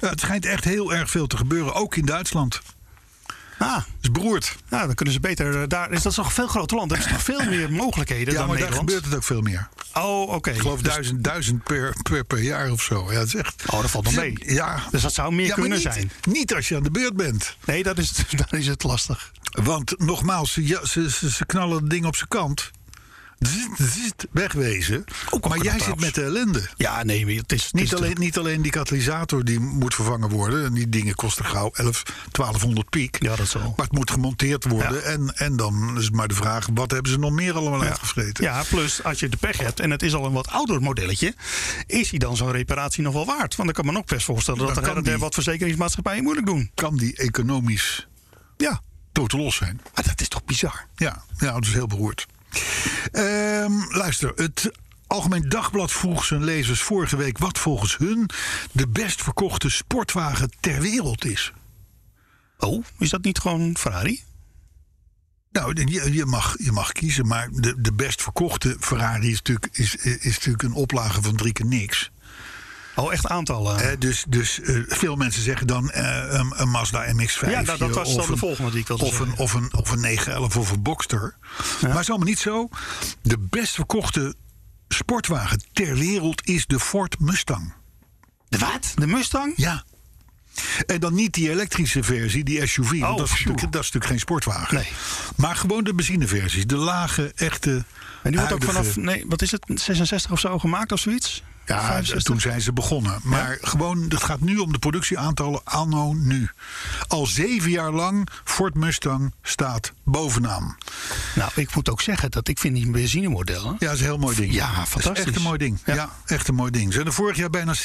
Speaker 2: Ja, het schijnt echt heel erg veel te gebeuren, ook in Duitsland.
Speaker 3: Ah,
Speaker 2: Het is beroerd.
Speaker 3: nou, dan kunnen ze beter eh, daar... Is dat is toch een veel groter land. Er is toch veel meer mogelijkheden
Speaker 2: Ja,
Speaker 3: dan
Speaker 2: maar daar
Speaker 3: Nederland?
Speaker 2: gebeurt het ook veel meer.
Speaker 3: Oh, oké.
Speaker 2: Ik geloof duizend, duizend per, per, per jaar of zo. Ja, dat is echt...
Speaker 3: Oh, dat valt nog mee.
Speaker 2: Ja.
Speaker 3: Dus dat zou meer
Speaker 2: Ja, maar
Speaker 3: kunnen
Speaker 2: niet-
Speaker 3: zijn.
Speaker 2: Niet als je aan de beurt bent.
Speaker 3: Nee, dat is, dat is het lastig.
Speaker 2: Want nogmaals, ze, ja, ze, ze, ze knallen het ding op zijn kant. Zzzt, zzzt, Wegwezen.
Speaker 3: Ook al
Speaker 2: maar
Speaker 3: knap
Speaker 2: jij zit
Speaker 3: trouwens.
Speaker 2: met de ellende.
Speaker 3: Ja, nee, maar het is... het is
Speaker 2: Niet alleen, niet alleen die katalysator die moet vervangen worden. En die dingen kosten gauw 11, 1200 piek.
Speaker 3: Ja, dat zal.
Speaker 2: Maar het moet gemonteerd worden.
Speaker 3: Ja.
Speaker 2: En, en dan is het maar de vraag, wat hebben ze nog meer allemaal uitgevreten?
Speaker 3: Ja, plus als je de pech hebt en het is al een wat ouder modelletje, is die dan zo'n reparatie nog wel waard? Want ik kan me ook best voorstellen dat
Speaker 2: Dan
Speaker 3: er
Speaker 2: kan
Speaker 3: her en der
Speaker 2: die.
Speaker 3: wat verzekeringsmaatschappijen moeilijk doen.
Speaker 2: Kan die economisch
Speaker 3: Ja,
Speaker 2: tot los zijn?
Speaker 3: maar dat is toch bizar?
Speaker 2: Ja, ja dat is heel beroerd. Ehm, luister, het Algemeen Dagblad vroeg zijn lezers vorige week... wat volgens hun de best verkochte sportwagen ter wereld is.
Speaker 3: Oh, is dat niet gewoon Ferrari?
Speaker 2: Nou, je, je, mag, je mag kiezen, maar de, de best verkochte Ferrari is natuurlijk, is, is natuurlijk een oplage van drie keer niks.
Speaker 3: Oh, echt aantallen.
Speaker 2: Hè, dus dus eh, veel mensen zeggen dan eh, een, een Mazda MX-5.
Speaker 3: Ja, nou, dat was dan de volgende die ik wilde
Speaker 2: of een,
Speaker 3: zeggen.
Speaker 2: of, een, of een 911 of een Boxster. Maar het is allemaal niet zo. De best verkochte sportwagen ter wereld is de Ford Mustang.
Speaker 3: de wat? De Mustang?
Speaker 2: Ja. En dan niet die elektrische versie, die SUV.
Speaker 3: Oh,
Speaker 2: want dat is,
Speaker 3: phew.
Speaker 2: natuurlijk, dat is natuurlijk geen sportwagen.
Speaker 3: Nee.
Speaker 2: Maar gewoon de benzineversie. De lage, echte.
Speaker 3: En die wordt ook
Speaker 2: huidige-
Speaker 3: vanaf, nee, wat is het, 66 of zo gemaakt of zoiets?
Speaker 2: Ja,
Speaker 3: 65?
Speaker 2: toen zijn ze begonnen. Maar gewoon, het gaat nu om de productieaantallen anno nu. Al zeven jaar lang, Ford Mustang staat bovenaan.
Speaker 3: Nou, ik moet ook zeggen dat ik vind die benzinemodellen...
Speaker 2: Ja, dat is een heel mooi ding.
Speaker 3: Ja,
Speaker 2: Dat is
Speaker 3: fantastisch.
Speaker 2: Echt een mooi ding.
Speaker 3: Ja.
Speaker 2: Ja. echt een mooi ding. Ze zijn er vorig jaar bijna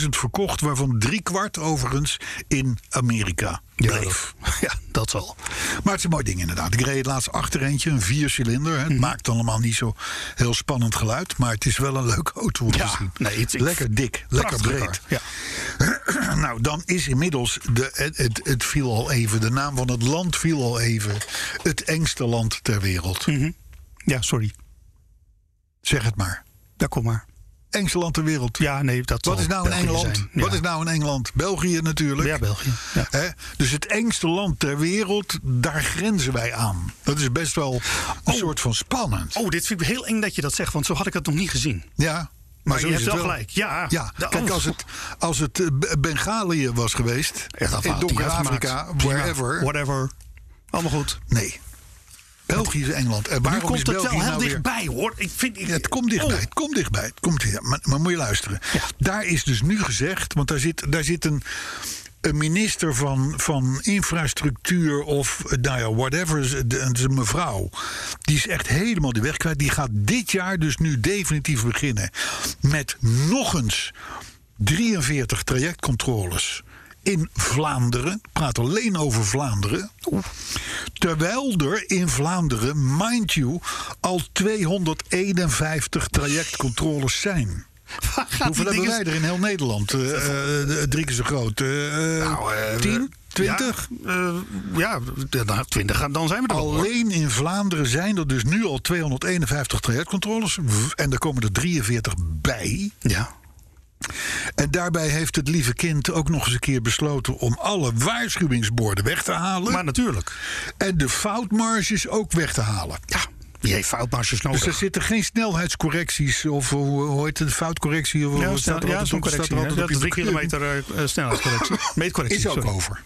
Speaker 2: 70.000 verkocht, waarvan drie kwart overigens in Amerika
Speaker 3: Ja,
Speaker 2: bleef.
Speaker 3: dat- ja, dat zal.
Speaker 2: Maar het is een mooi ding inderdaad. Ik reed laatst achter eentje, een viercilinder.
Speaker 3: Mhm.
Speaker 2: hè. Het maakt allemaal niet zo heel spannend geluid. Maar het is wel een leuke auto om te
Speaker 3: Ja,
Speaker 2: zien.
Speaker 3: nee, het is-
Speaker 2: lekker dik, lekker
Speaker 3: Prachtige
Speaker 2: breed.
Speaker 3: kar, Ja.
Speaker 2: Nou, dan is inmiddels, de, het, het, het viel al even, de naam van het land viel al even. Het engste land ter wereld.
Speaker 3: Mhm. ja, sorry.
Speaker 2: Zeg het maar.
Speaker 3: Ja, kom maar.
Speaker 2: Engste land ter wereld.
Speaker 3: Ja, nee, dat
Speaker 2: Wat
Speaker 3: zal
Speaker 2: is nou in
Speaker 3: België
Speaker 2: Engeland?
Speaker 3: zijn. Ja.
Speaker 2: Wat is nou in Engeland? België natuurlijk.
Speaker 3: Ja, België. Ja.
Speaker 2: Hè? Dus het engste land ter wereld, daar grenzen wij aan. Dat is best wel een soort van spannend.
Speaker 3: Oh, dit vind ik heel eng dat je dat zegt, want zo had ik het nog niet gezien.
Speaker 2: Ja, maar,
Speaker 3: Maar,
Speaker 2: zo
Speaker 3: je
Speaker 2: is
Speaker 3: hebt
Speaker 2: het
Speaker 3: wel gelijk. Ja,
Speaker 2: Ja,
Speaker 3: Da-
Speaker 2: kijk,
Speaker 3: oh.
Speaker 2: als het, als het eh, B- Bengalië was geweest,
Speaker 3: Echt, dat
Speaker 2: in
Speaker 3: had die
Speaker 2: Donker-Afrika,
Speaker 3: uitgemaakt. Prima.
Speaker 2: wherever,
Speaker 3: Whatever. Allemaal goed.
Speaker 2: nee. België is Engeland. En waarom
Speaker 3: nu komt
Speaker 2: is
Speaker 3: het
Speaker 2: België
Speaker 3: wel heel
Speaker 2: nou weer...
Speaker 3: dichtbij, hoor. Ik vind, ik,
Speaker 2: Ja, het komt
Speaker 3: Oh.
Speaker 2: dichtbij, het komt dichtbij. Het komt dichtbij. Maar, maar moet je luisteren. Daar is dus nu gezegd, want daar zit, daar zit een, een minister van, van infrastructuur of eh, nou ja, whatever, ze- de- het is een mevrouw. Die is echt helemaal de weg kwijt. Die gaat dit jaar dus nu definitief beginnen met nog eens 43 trajectcontroles. In Vlaanderen, ik praat alleen over Vlaanderen. Terwijl er in Vlaanderen, mind you, al 251 trajectcontroles zijn.
Speaker 3: Waar gaat
Speaker 2: Hoeveel
Speaker 3: Nou, die
Speaker 2: hebben wij
Speaker 3: dingen-
Speaker 2: er in heel Nederland? Eh, eh, eh, drie keer zo groot. Eh, eh,
Speaker 3: Nou, eh,
Speaker 2: 10, 20?
Speaker 3: Ja, eh, ja d- nou, 20, dan zijn we er wel, hoor.
Speaker 2: Alleen in Vlaanderen zijn er dus nu al 251 trajectcontroles. En er komen er 43 bij.
Speaker 3: Ja.
Speaker 2: En daarbij heeft het lieve kind ook nog eens een keer besloten om alle waarschuwingsborden weg te halen.
Speaker 3: Maar natuurlijk.
Speaker 2: en de foutmarges ook weg te halen.
Speaker 3: Ja, die heeft foutmarges
Speaker 2: Dus er
Speaker 3: nodig.
Speaker 2: zitten geen snelheidscorrecties of hoe hoe heet het, foutcorrectie? Of,
Speaker 3: ja,
Speaker 2: wat staat er
Speaker 3: ja,
Speaker 2: altijd
Speaker 3: zo'n
Speaker 2: op? Staat er
Speaker 3: correctie. hè.
Speaker 2: altijd
Speaker 3: Dat
Speaker 2: op
Speaker 3: is
Speaker 2: je
Speaker 3: drie
Speaker 2: bekeuring?
Speaker 3: kilometer eh, snelheidscorrectie. Meetcorrectie.
Speaker 2: Is ook
Speaker 3: sorry.
Speaker 2: over.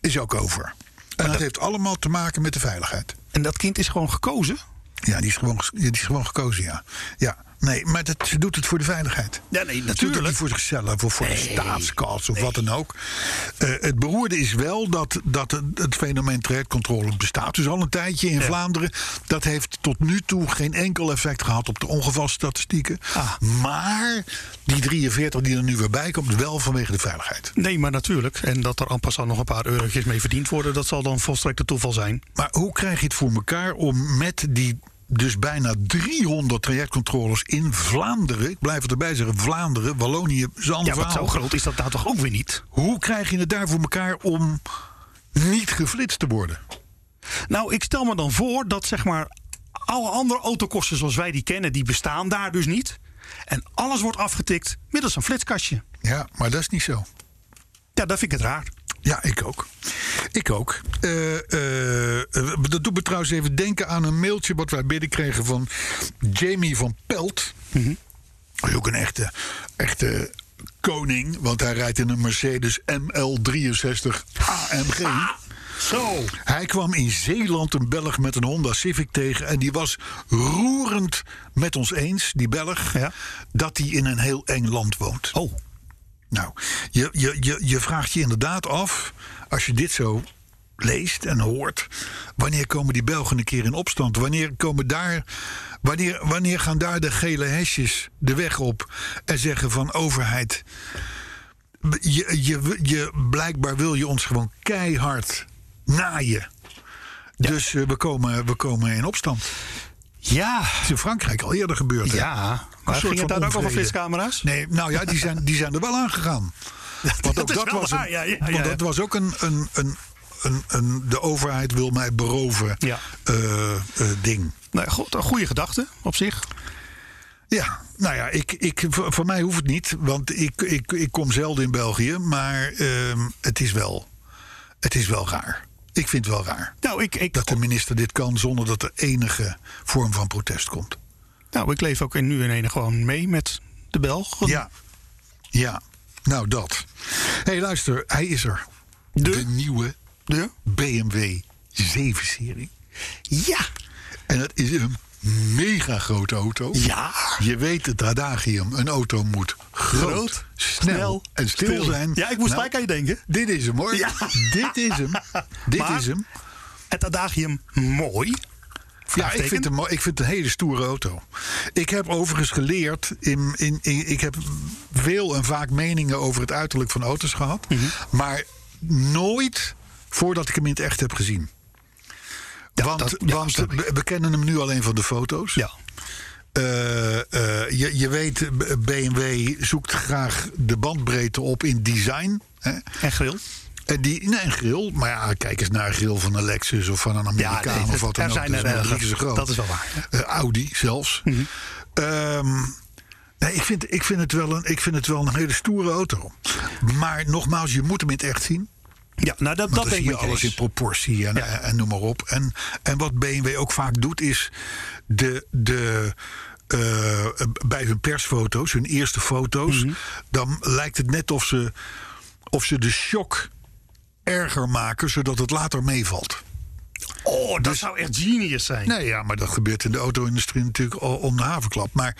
Speaker 2: Is ook over. En dat heeft allemaal te maken met de veiligheid.
Speaker 3: En dat kind is gewoon gekozen.
Speaker 2: Ja, die is gewoon, ges- die is gewoon gekozen, ja. Ja, nee, maar dat, ze doet het voor de veiligheid.
Speaker 3: Ja,
Speaker 2: Ze
Speaker 3: nee,
Speaker 2: doet het
Speaker 3: natuurlijk.
Speaker 2: niet voor zichzelf of voor de staatskas of wat dan ook. Eh, het beroerde is wel dat, dat het- het fenomeen trajectcontrole bestaat. Dus al een tijdje in Vlaanderen. Dat heeft tot nu toe geen enkel effect gehad op de ongevalstatistieken.
Speaker 3: Ah.
Speaker 2: Maar die 43 die er nu weer bij komt, wel vanwege de veiligheid.
Speaker 3: Nee, maar natuurlijk. En dat er amper al nog een paar eurotjes mee verdiend worden, dat zal dan volstrekt het toeval zijn.
Speaker 2: Maar hoe krijg je het voor elkaar om met die dus bijna 300 trajectcontroles in Vlaanderen... ik blijf het erbij zeggen, Vlaanderen, Wallonië,
Speaker 3: Ja,
Speaker 2: Zandvaal...
Speaker 3: want zo groot is dat nou toch ook weer niet?
Speaker 2: hoe krijg je het daar voor elkaar om niet geflitst te worden?
Speaker 3: Nou, ik stel me dan voor dat zeg maar alle andere autokosten zoals wij die kennen, die bestaan daar dus niet. En alles wordt afgetikt middels een flitskastje.
Speaker 2: Ja, maar dat is niet zo.
Speaker 3: Ja, dat vind ik het raar.
Speaker 2: Ja, ik ook. Ik ook. Eh, eh, eh, dat doet me trouwens even denken aan een mailtje wat wij binnenkregen van Jamie van Pelt.
Speaker 3: Mhm.
Speaker 2: Hij is ook een echte, echte koning, want hij rijdt in een Mercedes ML63 AMG.
Speaker 3: Ah, Zo.
Speaker 2: Hij kwam in Zeeland een Belg met een Honda Civic tegen. En die was roerend met ons eens, die Belg,
Speaker 3: Ja.
Speaker 2: dat hij in een heel eng land woont.
Speaker 3: Oh.
Speaker 2: Nou, je, je, je, je vraagt je inderdaad af, als je dit zo leest en hoort, wanneer komen die Belgen een keer in opstand? Wanneer komen daar, wanneer, wanneer gaan daar de gele hesjes de weg op en zeggen van overheid, je, je, je, blijkbaar wil je ons gewoon keihard naaien. Dus eh, we, komen, we komen in opstand.
Speaker 3: Ja.
Speaker 2: Het is in Frankrijk al eerder gebeurd. hè?
Speaker 3: Ja.
Speaker 2: Een
Speaker 3: Maar
Speaker 2: soort
Speaker 3: ging het
Speaker 2: van
Speaker 3: daar ook over
Speaker 2: onvrede.
Speaker 3: flitscamera's?
Speaker 2: Nee, nou ja, die zijn, die zijn er wel aangegaan. Want ook
Speaker 3: is
Speaker 2: dat
Speaker 3: wel
Speaker 2: was,
Speaker 3: waar,
Speaker 2: een,
Speaker 3: ja, ja,
Speaker 2: want
Speaker 3: ja, ja.
Speaker 2: dat was ook een, een, een, een, een de overheid wil mij beroven
Speaker 3: Ja.
Speaker 2: eh, eh, ding.
Speaker 3: Nee, goed, Nou, een goede gedachte op zich.
Speaker 2: Ja, nou ja, ik, ik, voor, voor mij hoeft het niet, want ik, ik, ik kom zelden in België, maar ehm, het, is wel, het is wel raar. Ik vind het wel raar
Speaker 3: Nou ik, ik,
Speaker 2: dat de minister dit kan zonder dat er enige vorm van protest komt.
Speaker 3: nou, ik leef ook in, nu in ene gewoon mee met de Belgen.
Speaker 2: Ja. Ja. Nou, dat. Hé, hey, luister. Hij is er. De, nieuwe
Speaker 3: De?
Speaker 2: BMW 7-serie.
Speaker 3: Ja.
Speaker 2: En dat is een mega grote auto.
Speaker 3: Ja.
Speaker 2: Je weet het adagium. Een auto moet groot,
Speaker 3: Groot,
Speaker 2: snel,
Speaker 3: snel,
Speaker 2: en stil,
Speaker 3: stil.
Speaker 2: zijn.
Speaker 3: Ja, ik moest
Speaker 2: Nou,
Speaker 3: gelijk aan je denken.
Speaker 2: Dit is hem, hoor.
Speaker 3: Ja.
Speaker 2: Dit is hem. Dit
Speaker 3: Maar-
Speaker 2: is hem.
Speaker 3: Het adagium mooi.
Speaker 2: Ja, ik
Speaker 3: Vraagteken.
Speaker 2: vind, hem, mooi. ik vind het een hele stoere auto. Ik heb overigens geleerd. In, in, in- ik heb veel en vaak meningen over het uiterlijk van auto's gehad.
Speaker 3: Mhm.
Speaker 2: Maar nooit voordat ik hem in het echt heb gezien. want
Speaker 3: dat- ja,
Speaker 2: want
Speaker 3: snap ik.
Speaker 2: we, we kennen hem nu alleen van de foto's.
Speaker 3: Ja.
Speaker 2: Eh, eh, je, je weet, B- BMW zoekt graag de bandbreedte op in design. Hè?
Speaker 3: En grill.
Speaker 2: En die, nee, een grill. Maar ja, kijk eens naar een grill van een Lexus of van een Amerikaan
Speaker 3: nee,
Speaker 2: of
Speaker 3: het-
Speaker 2: wat dan
Speaker 3: er
Speaker 2: ook.
Speaker 3: zijn
Speaker 2: dat,
Speaker 3: er
Speaker 2: is wel
Speaker 3: erger.
Speaker 2: drie keer zo groot.
Speaker 3: Dat is wel waar, Mhm.
Speaker 2: Eh, Audi zelfs. Ehm, nee, ik, vind, ik, vind het wel een, ik vind het wel een hele stoere auto. Maar nogmaals, je moet hem in het echt zien.
Speaker 3: Ja, nou dat,
Speaker 2: Want
Speaker 3: dat
Speaker 2: dat dan
Speaker 3: denk
Speaker 2: zie je
Speaker 3: ik
Speaker 2: alles in proportie en, eh, en, en noem maar op. En, en wat BMW ook vaak doet is de, de, eh, bij hun persfoto's, hun eerste foto's... dan lijkt het net of ze, of ze de shock erger maken... zodat het later meevalt.
Speaker 3: Oh, dat zou echt genius zijn.
Speaker 2: Dus- Nee, ja, maar dat gebeurt in de auto-industrie natuurlijk al om de havenklap. Maar,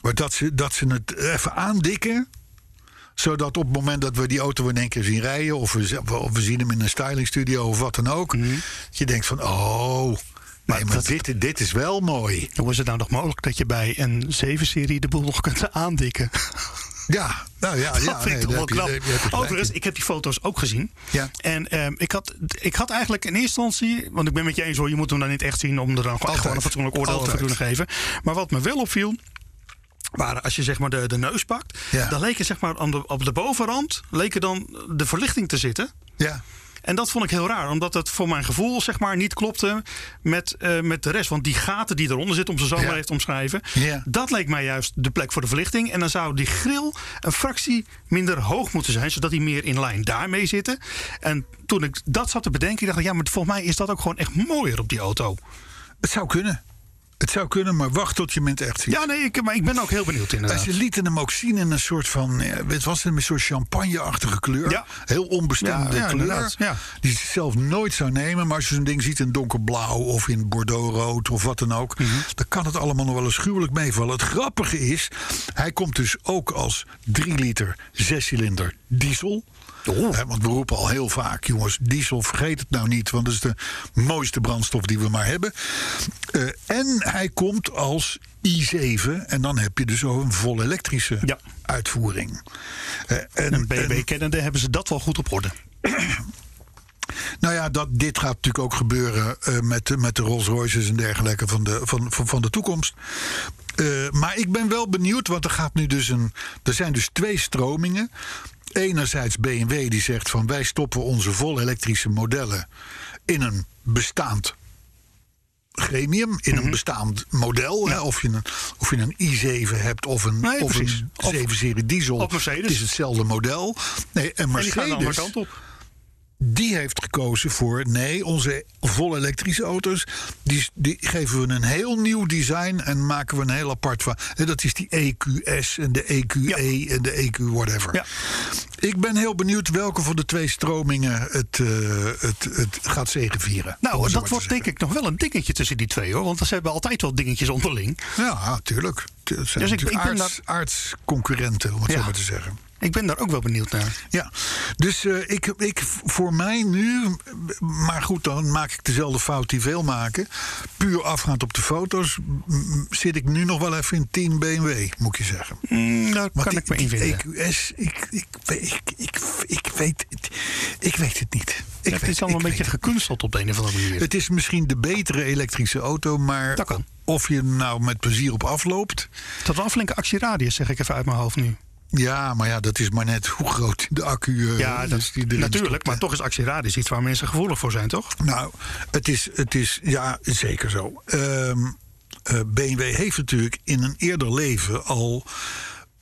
Speaker 2: maar dat, ze, dat ze het even aandikken zodat op het moment dat we die auto in één keer zien rijden... of we, z- of we zien hem in een stylingstudio of wat dan ook... dat je denkt van, oh, nee, maar,
Speaker 3: Mhm. dat-
Speaker 2: dit, dit is wel mooi.
Speaker 3: Hoe is het nou nog mogelijk dat je bij een 7-serie de boel nog kunt aandikken?
Speaker 2: Ja, nou ja,
Speaker 3: dat
Speaker 2: ja
Speaker 3: vind
Speaker 2: nee, daar
Speaker 3: ik toch wel
Speaker 2: heb je-
Speaker 3: knap.
Speaker 2: daar heb je gelijk
Speaker 3: Overigens,
Speaker 2: in.
Speaker 3: ik heb die foto's ook gezien.
Speaker 2: Ja.
Speaker 3: En ehm, ik, had, ik had eigenlijk in eerste instantie... Want ik ben met je eens hoor, je moet hem dan niet echt zien... om er dan
Speaker 2: Altijd.
Speaker 3: gewoon een fatsoenlijk oordeel
Speaker 2: Altijd.
Speaker 3: over te kunnen geven. Maar wat me wel opviel... waren als je zeg maar de, de neus pakt...
Speaker 2: Ja.
Speaker 3: dan leek er zeg maar aan de, op de bovenrand... leek er dan de verlichting te zitten...
Speaker 2: Ja,
Speaker 3: En dat vond ik heel raar, omdat het voor mijn gevoel zeg maar, niet klopte met, eh, met de rest. Want die gaten die eronder zitten, om ze zo
Speaker 2: Ja.
Speaker 3: maar even te omschrijven,
Speaker 2: Ja.
Speaker 3: dat leek mij juist de plek voor de verlichting. En dan zou die grill een fractie minder hoog moeten zijn, zodat die meer in lijn daarmee zitten. En toen ik dat zat te bedenken, dacht ik, ja, maar volgens mij is dat ook gewoon echt mooier op die auto.
Speaker 2: het zou kunnen. Het zou kunnen, maar wacht tot je hem in het echt ziet.
Speaker 3: Ja, nee, ik, maar ik ben ook heel benieuwd inderdaad.
Speaker 2: Als je lieten hem ook zien in een soort van, eh, het was een soort champagne-achtige kleur.
Speaker 3: Ja.
Speaker 2: Heel onbestemde
Speaker 3: Ja, ja,
Speaker 2: kleur.
Speaker 3: inderdaad, ja.
Speaker 2: Die ze zelf nooit zou nemen. Maar als je zo'n ding ziet in donkerblauw of in bordeauxrood of wat dan ook.
Speaker 3: Mhm.
Speaker 2: Dan kan het allemaal nog wel eens gruwelijk meevallen. Het grappige is, hij komt dus ook als 3 liter 6-cilinder diesel. Hè, want we roepen al heel vaak, jongens, diesel vergeet het nou niet. Want dat is de mooiste brandstof die we maar hebben. Eh, en hij komt als i7. En dan heb je dus ook een vol elektrische
Speaker 3: Ja.
Speaker 2: uitvoering. Eh,
Speaker 3: Een BB-kennende hebben ze dat wel goed op orde.
Speaker 2: Nou ja, dat, dit gaat natuurlijk ook gebeuren eh, met, de- met de Rolls Royces en dergelijke van de, van, van, van de toekomst. Eh, maar ik ben wel benieuwd, want er, gaat nu dus een, er zijn dus twee stromingen. Enerzijds BMW die zegt van wij stoppen onze vol elektrische modellen in een bestaand gremium, in
Speaker 3: Mhm.
Speaker 2: een bestaand model. Hè, of, je een, of je een i7 hebt of een,
Speaker 3: Nee,
Speaker 2: of
Speaker 3: precies.
Speaker 2: een
Speaker 3: Of-
Speaker 2: 7-serie diesel.
Speaker 3: of Mercedes.
Speaker 2: Het is hetzelfde model. Nee, en
Speaker 3: En die dus? gaan de andere
Speaker 2: Mercedes
Speaker 3: kant op.
Speaker 2: die heeft gekozen voor nee, onze vol elektrische auto's, die, die geven we een heel nieuw design en maken we een heel apart van. En dat is die EQS en de EQE en de EQ whatever.
Speaker 3: Ja.
Speaker 2: Ik ben heel benieuwd welke van de twee stromingen het, eh, het, het gaat zegenvieren. om
Speaker 3: Nou,
Speaker 2: het zo
Speaker 3: dat
Speaker 2: maar te
Speaker 3: wordt
Speaker 2: zeggen.
Speaker 3: denk ik nog wel een dingetje tussen die twee hoor. Want ze hebben altijd wel dingetjes onderling.
Speaker 2: Ja, tuurlijk. Het zijn
Speaker 3: Dus ik-
Speaker 2: natuurlijk
Speaker 3: ik ben
Speaker 2: aards,
Speaker 3: daar-
Speaker 2: aardsconcurrenten, om het
Speaker 3: Ja.
Speaker 2: zo maar te zeggen.
Speaker 3: Ik ben daar ook wel benieuwd naar.
Speaker 2: Ja, dus eh, ik, ik, voor mij nu, maar goed, dan maak ik dezelfde fout die veel maken. Puur afgaand op de foto's m- m- zit ik nu nog wel even in Team BMW, moet ik je zeggen.
Speaker 3: Mm, daar kan
Speaker 2: die-
Speaker 3: ik me
Speaker 2: die
Speaker 3: invinden.
Speaker 2: EQS, ik, ik, weet- ik, ik, ik, weet, het, ik weet het niet. Ik
Speaker 3: het
Speaker 2: weet-
Speaker 3: is
Speaker 2: ik
Speaker 3: allemaal een beetje
Speaker 2: weet het.
Speaker 3: gekunsteld op de een of andere manier.
Speaker 2: Het is misschien de betere elektrische auto, maar
Speaker 3: Dat kan.
Speaker 2: of je er nou met plezier op afloopt...
Speaker 3: Dat wel een flinke actieradius, zeg ik even uit mijn hoofd nu.
Speaker 2: Ja, maar ja, dat is maar net hoe groot de accu eh,
Speaker 3: Ja,
Speaker 2: is
Speaker 3: dat,
Speaker 2: die erin
Speaker 3: natuurlijk.
Speaker 2: stopt, hè.
Speaker 3: maar toch is actieradius iets waar mensen gevoelig voor zijn, toch?
Speaker 2: Nou, het is, het is ja, zeker zo. Ehm, eh, BMW heeft natuurlijk in een eerder leven al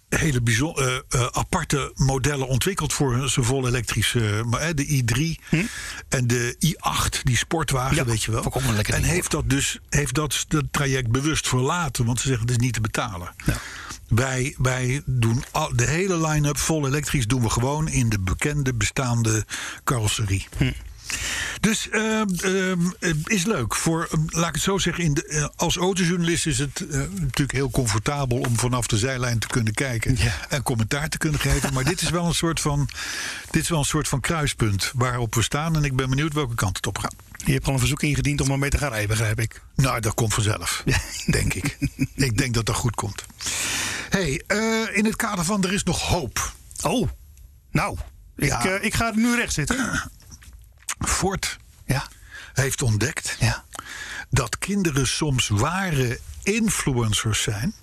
Speaker 2: hele bijzo- eh, eh, aparte modellen ontwikkeld voor zijn vol elektrische, maar, hè, de i3 en de i8, die sportwagen,
Speaker 3: Hm? Ja,
Speaker 2: weet je wel.
Speaker 3: vond ik ook een lekker
Speaker 2: en
Speaker 3: ding,
Speaker 2: heeft dat dus heeft dat, dat traject bewust verlaten, want ze zeggen het is niet te betalen. Wij, wij doen al, de hele line-up vol elektrisch doen we gewoon in de bekende bestaande carrosserie. Dus ehm, ehm, het is leuk. Voor, ehm, laat ik het zo zeggen, in de, eh, als autojournalist is het eh, natuurlijk heel comfortabel om vanaf de zijlijn te kunnen kijken
Speaker 3: Ja.
Speaker 2: en commentaar te kunnen geven. Maar dit is wel een soort van dit is wel een soort van kruispunt waarop we staan. En ik ben benieuwd welke kant het op gaat.
Speaker 3: Je hebt al een verzoek ingediend om ermee te gaan rijden, begrijp ik.
Speaker 2: Nou, dat komt vanzelf, denk ik. Ik denk dat dat goed komt. hey, eh, in het kader van er is nog hoop.
Speaker 3: Oh, nou. Ik,
Speaker 2: Ja.
Speaker 3: eh, ik ga nu recht zitten.
Speaker 2: Ford
Speaker 3: Ja.
Speaker 2: heeft ontdekt
Speaker 3: Ja.
Speaker 2: dat kinderen soms ware influencers zijn.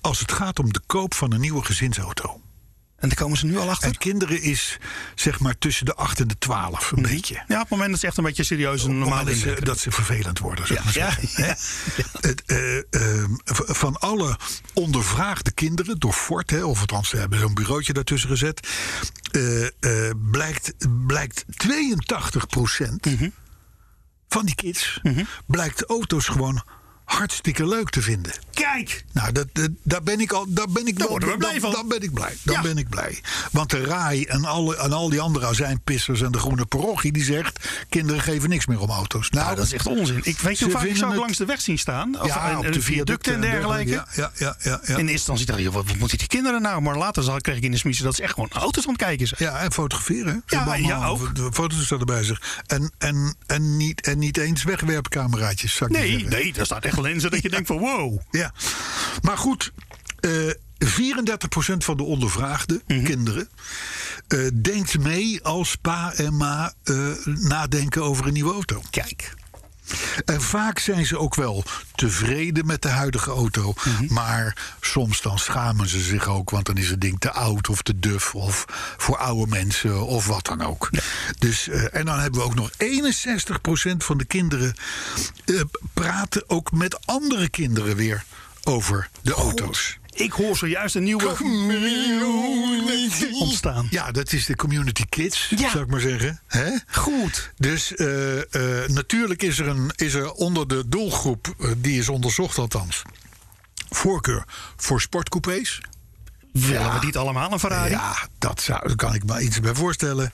Speaker 2: als het gaat om de koop van een nieuwe gezinsauto.
Speaker 3: En daar komen ze nu al achter?
Speaker 2: En kinderen is zeg maar tussen de 8 en de 12, een beetje.
Speaker 3: Mhm. Ja, op het moment dat ze echt een beetje serieus en normaal
Speaker 2: Normaal is
Speaker 3: inbreken.
Speaker 2: eh, dat ze vervelend worden. Zeg
Speaker 3: Ja,
Speaker 2: maar
Speaker 3: ja,
Speaker 2: zeggen, hè. Het, eh, eh, v- van alle ondervraagde kinderen door Ford, hè, of althans, ze hebben zo'n bureautje daartussen gezet. eh, eh, blijkt, blijkt 82
Speaker 3: Mhm.
Speaker 2: van die kids blijkt auto's gewoon hartstikke leuk te vinden.
Speaker 3: Kijk!
Speaker 2: Nou, dat, dat- daar ben ik al. Daar ben ik wel-
Speaker 3: worden we blij
Speaker 2: dan,
Speaker 3: van.
Speaker 2: Dan ben ik blij. Dan
Speaker 3: Ja.
Speaker 2: ben ik blij. Want de RAI en, alle, en al die andere azijnpissers en de groene parochie die zegt: kinderen geven niks meer om auto's. Nou,
Speaker 3: dat is echt onzin. Ik weet je
Speaker 2: Ze
Speaker 3: hoe vaak ik
Speaker 2: vinden
Speaker 3: zou
Speaker 2: het-
Speaker 3: langs de weg zien staan. Of
Speaker 2: ja,
Speaker 3: en-
Speaker 2: op
Speaker 3: en
Speaker 2: de
Speaker 3: viaducten en eh, dergelijke.
Speaker 2: Ja, ja, ja. ja,
Speaker 3: In
Speaker 2: ja.
Speaker 3: eerste instantie dacht ik, joh, wat wat moeten die kinderen nou? Maar later zal, kreeg ik in de smissie dat ze echt gewoon auto's aan het kijken zijn.
Speaker 2: Ja, en fotograferen. hè. Ze
Speaker 3: Ja,
Speaker 2: hebben allemaal
Speaker 3: ja, ook.
Speaker 2: de Foto's staan erbij zich. En, en, en, niet, en niet eens wegwerpcameraatjes, zou ik maar
Speaker 3: Nee,
Speaker 2: zeggen.
Speaker 3: nee, daar staat echt lenzen dat je denkt van wow.
Speaker 2: Ja. Maar goed, eh 34% van de ondervraagden,
Speaker 3: Mhm.
Speaker 2: kinderen, eh, denkt mee als pa en ma eh, nadenken over een nieuwe auto.
Speaker 3: Kijk.
Speaker 2: En vaak zijn ze ook wel tevreden met de huidige auto. Maar soms dan schamen ze zich ook, want dan is het ding te oud of te duf of voor oude mensen of wat dan ook. Dus, eh, en dan hebben we ook nog 61% van de kinderen eh, praten ook met andere kinderen weer over de auto's.
Speaker 3: Ik hoor zojuist een nieuwe ontstaan.
Speaker 2: Ja, dat is de Community Kids,
Speaker 3: Ja.
Speaker 2: zou ik maar zeggen. Hè?
Speaker 3: Goed.
Speaker 2: Dus eh, eh, natuurlijk is er, een, is er onder de doelgroep, eh, die is onderzocht althans, voorkeur voor sportcoupés.
Speaker 3: Willen we niet allemaal een Ferrari?
Speaker 2: Ja, dat zou, daar kan ik me iets bij voorstellen.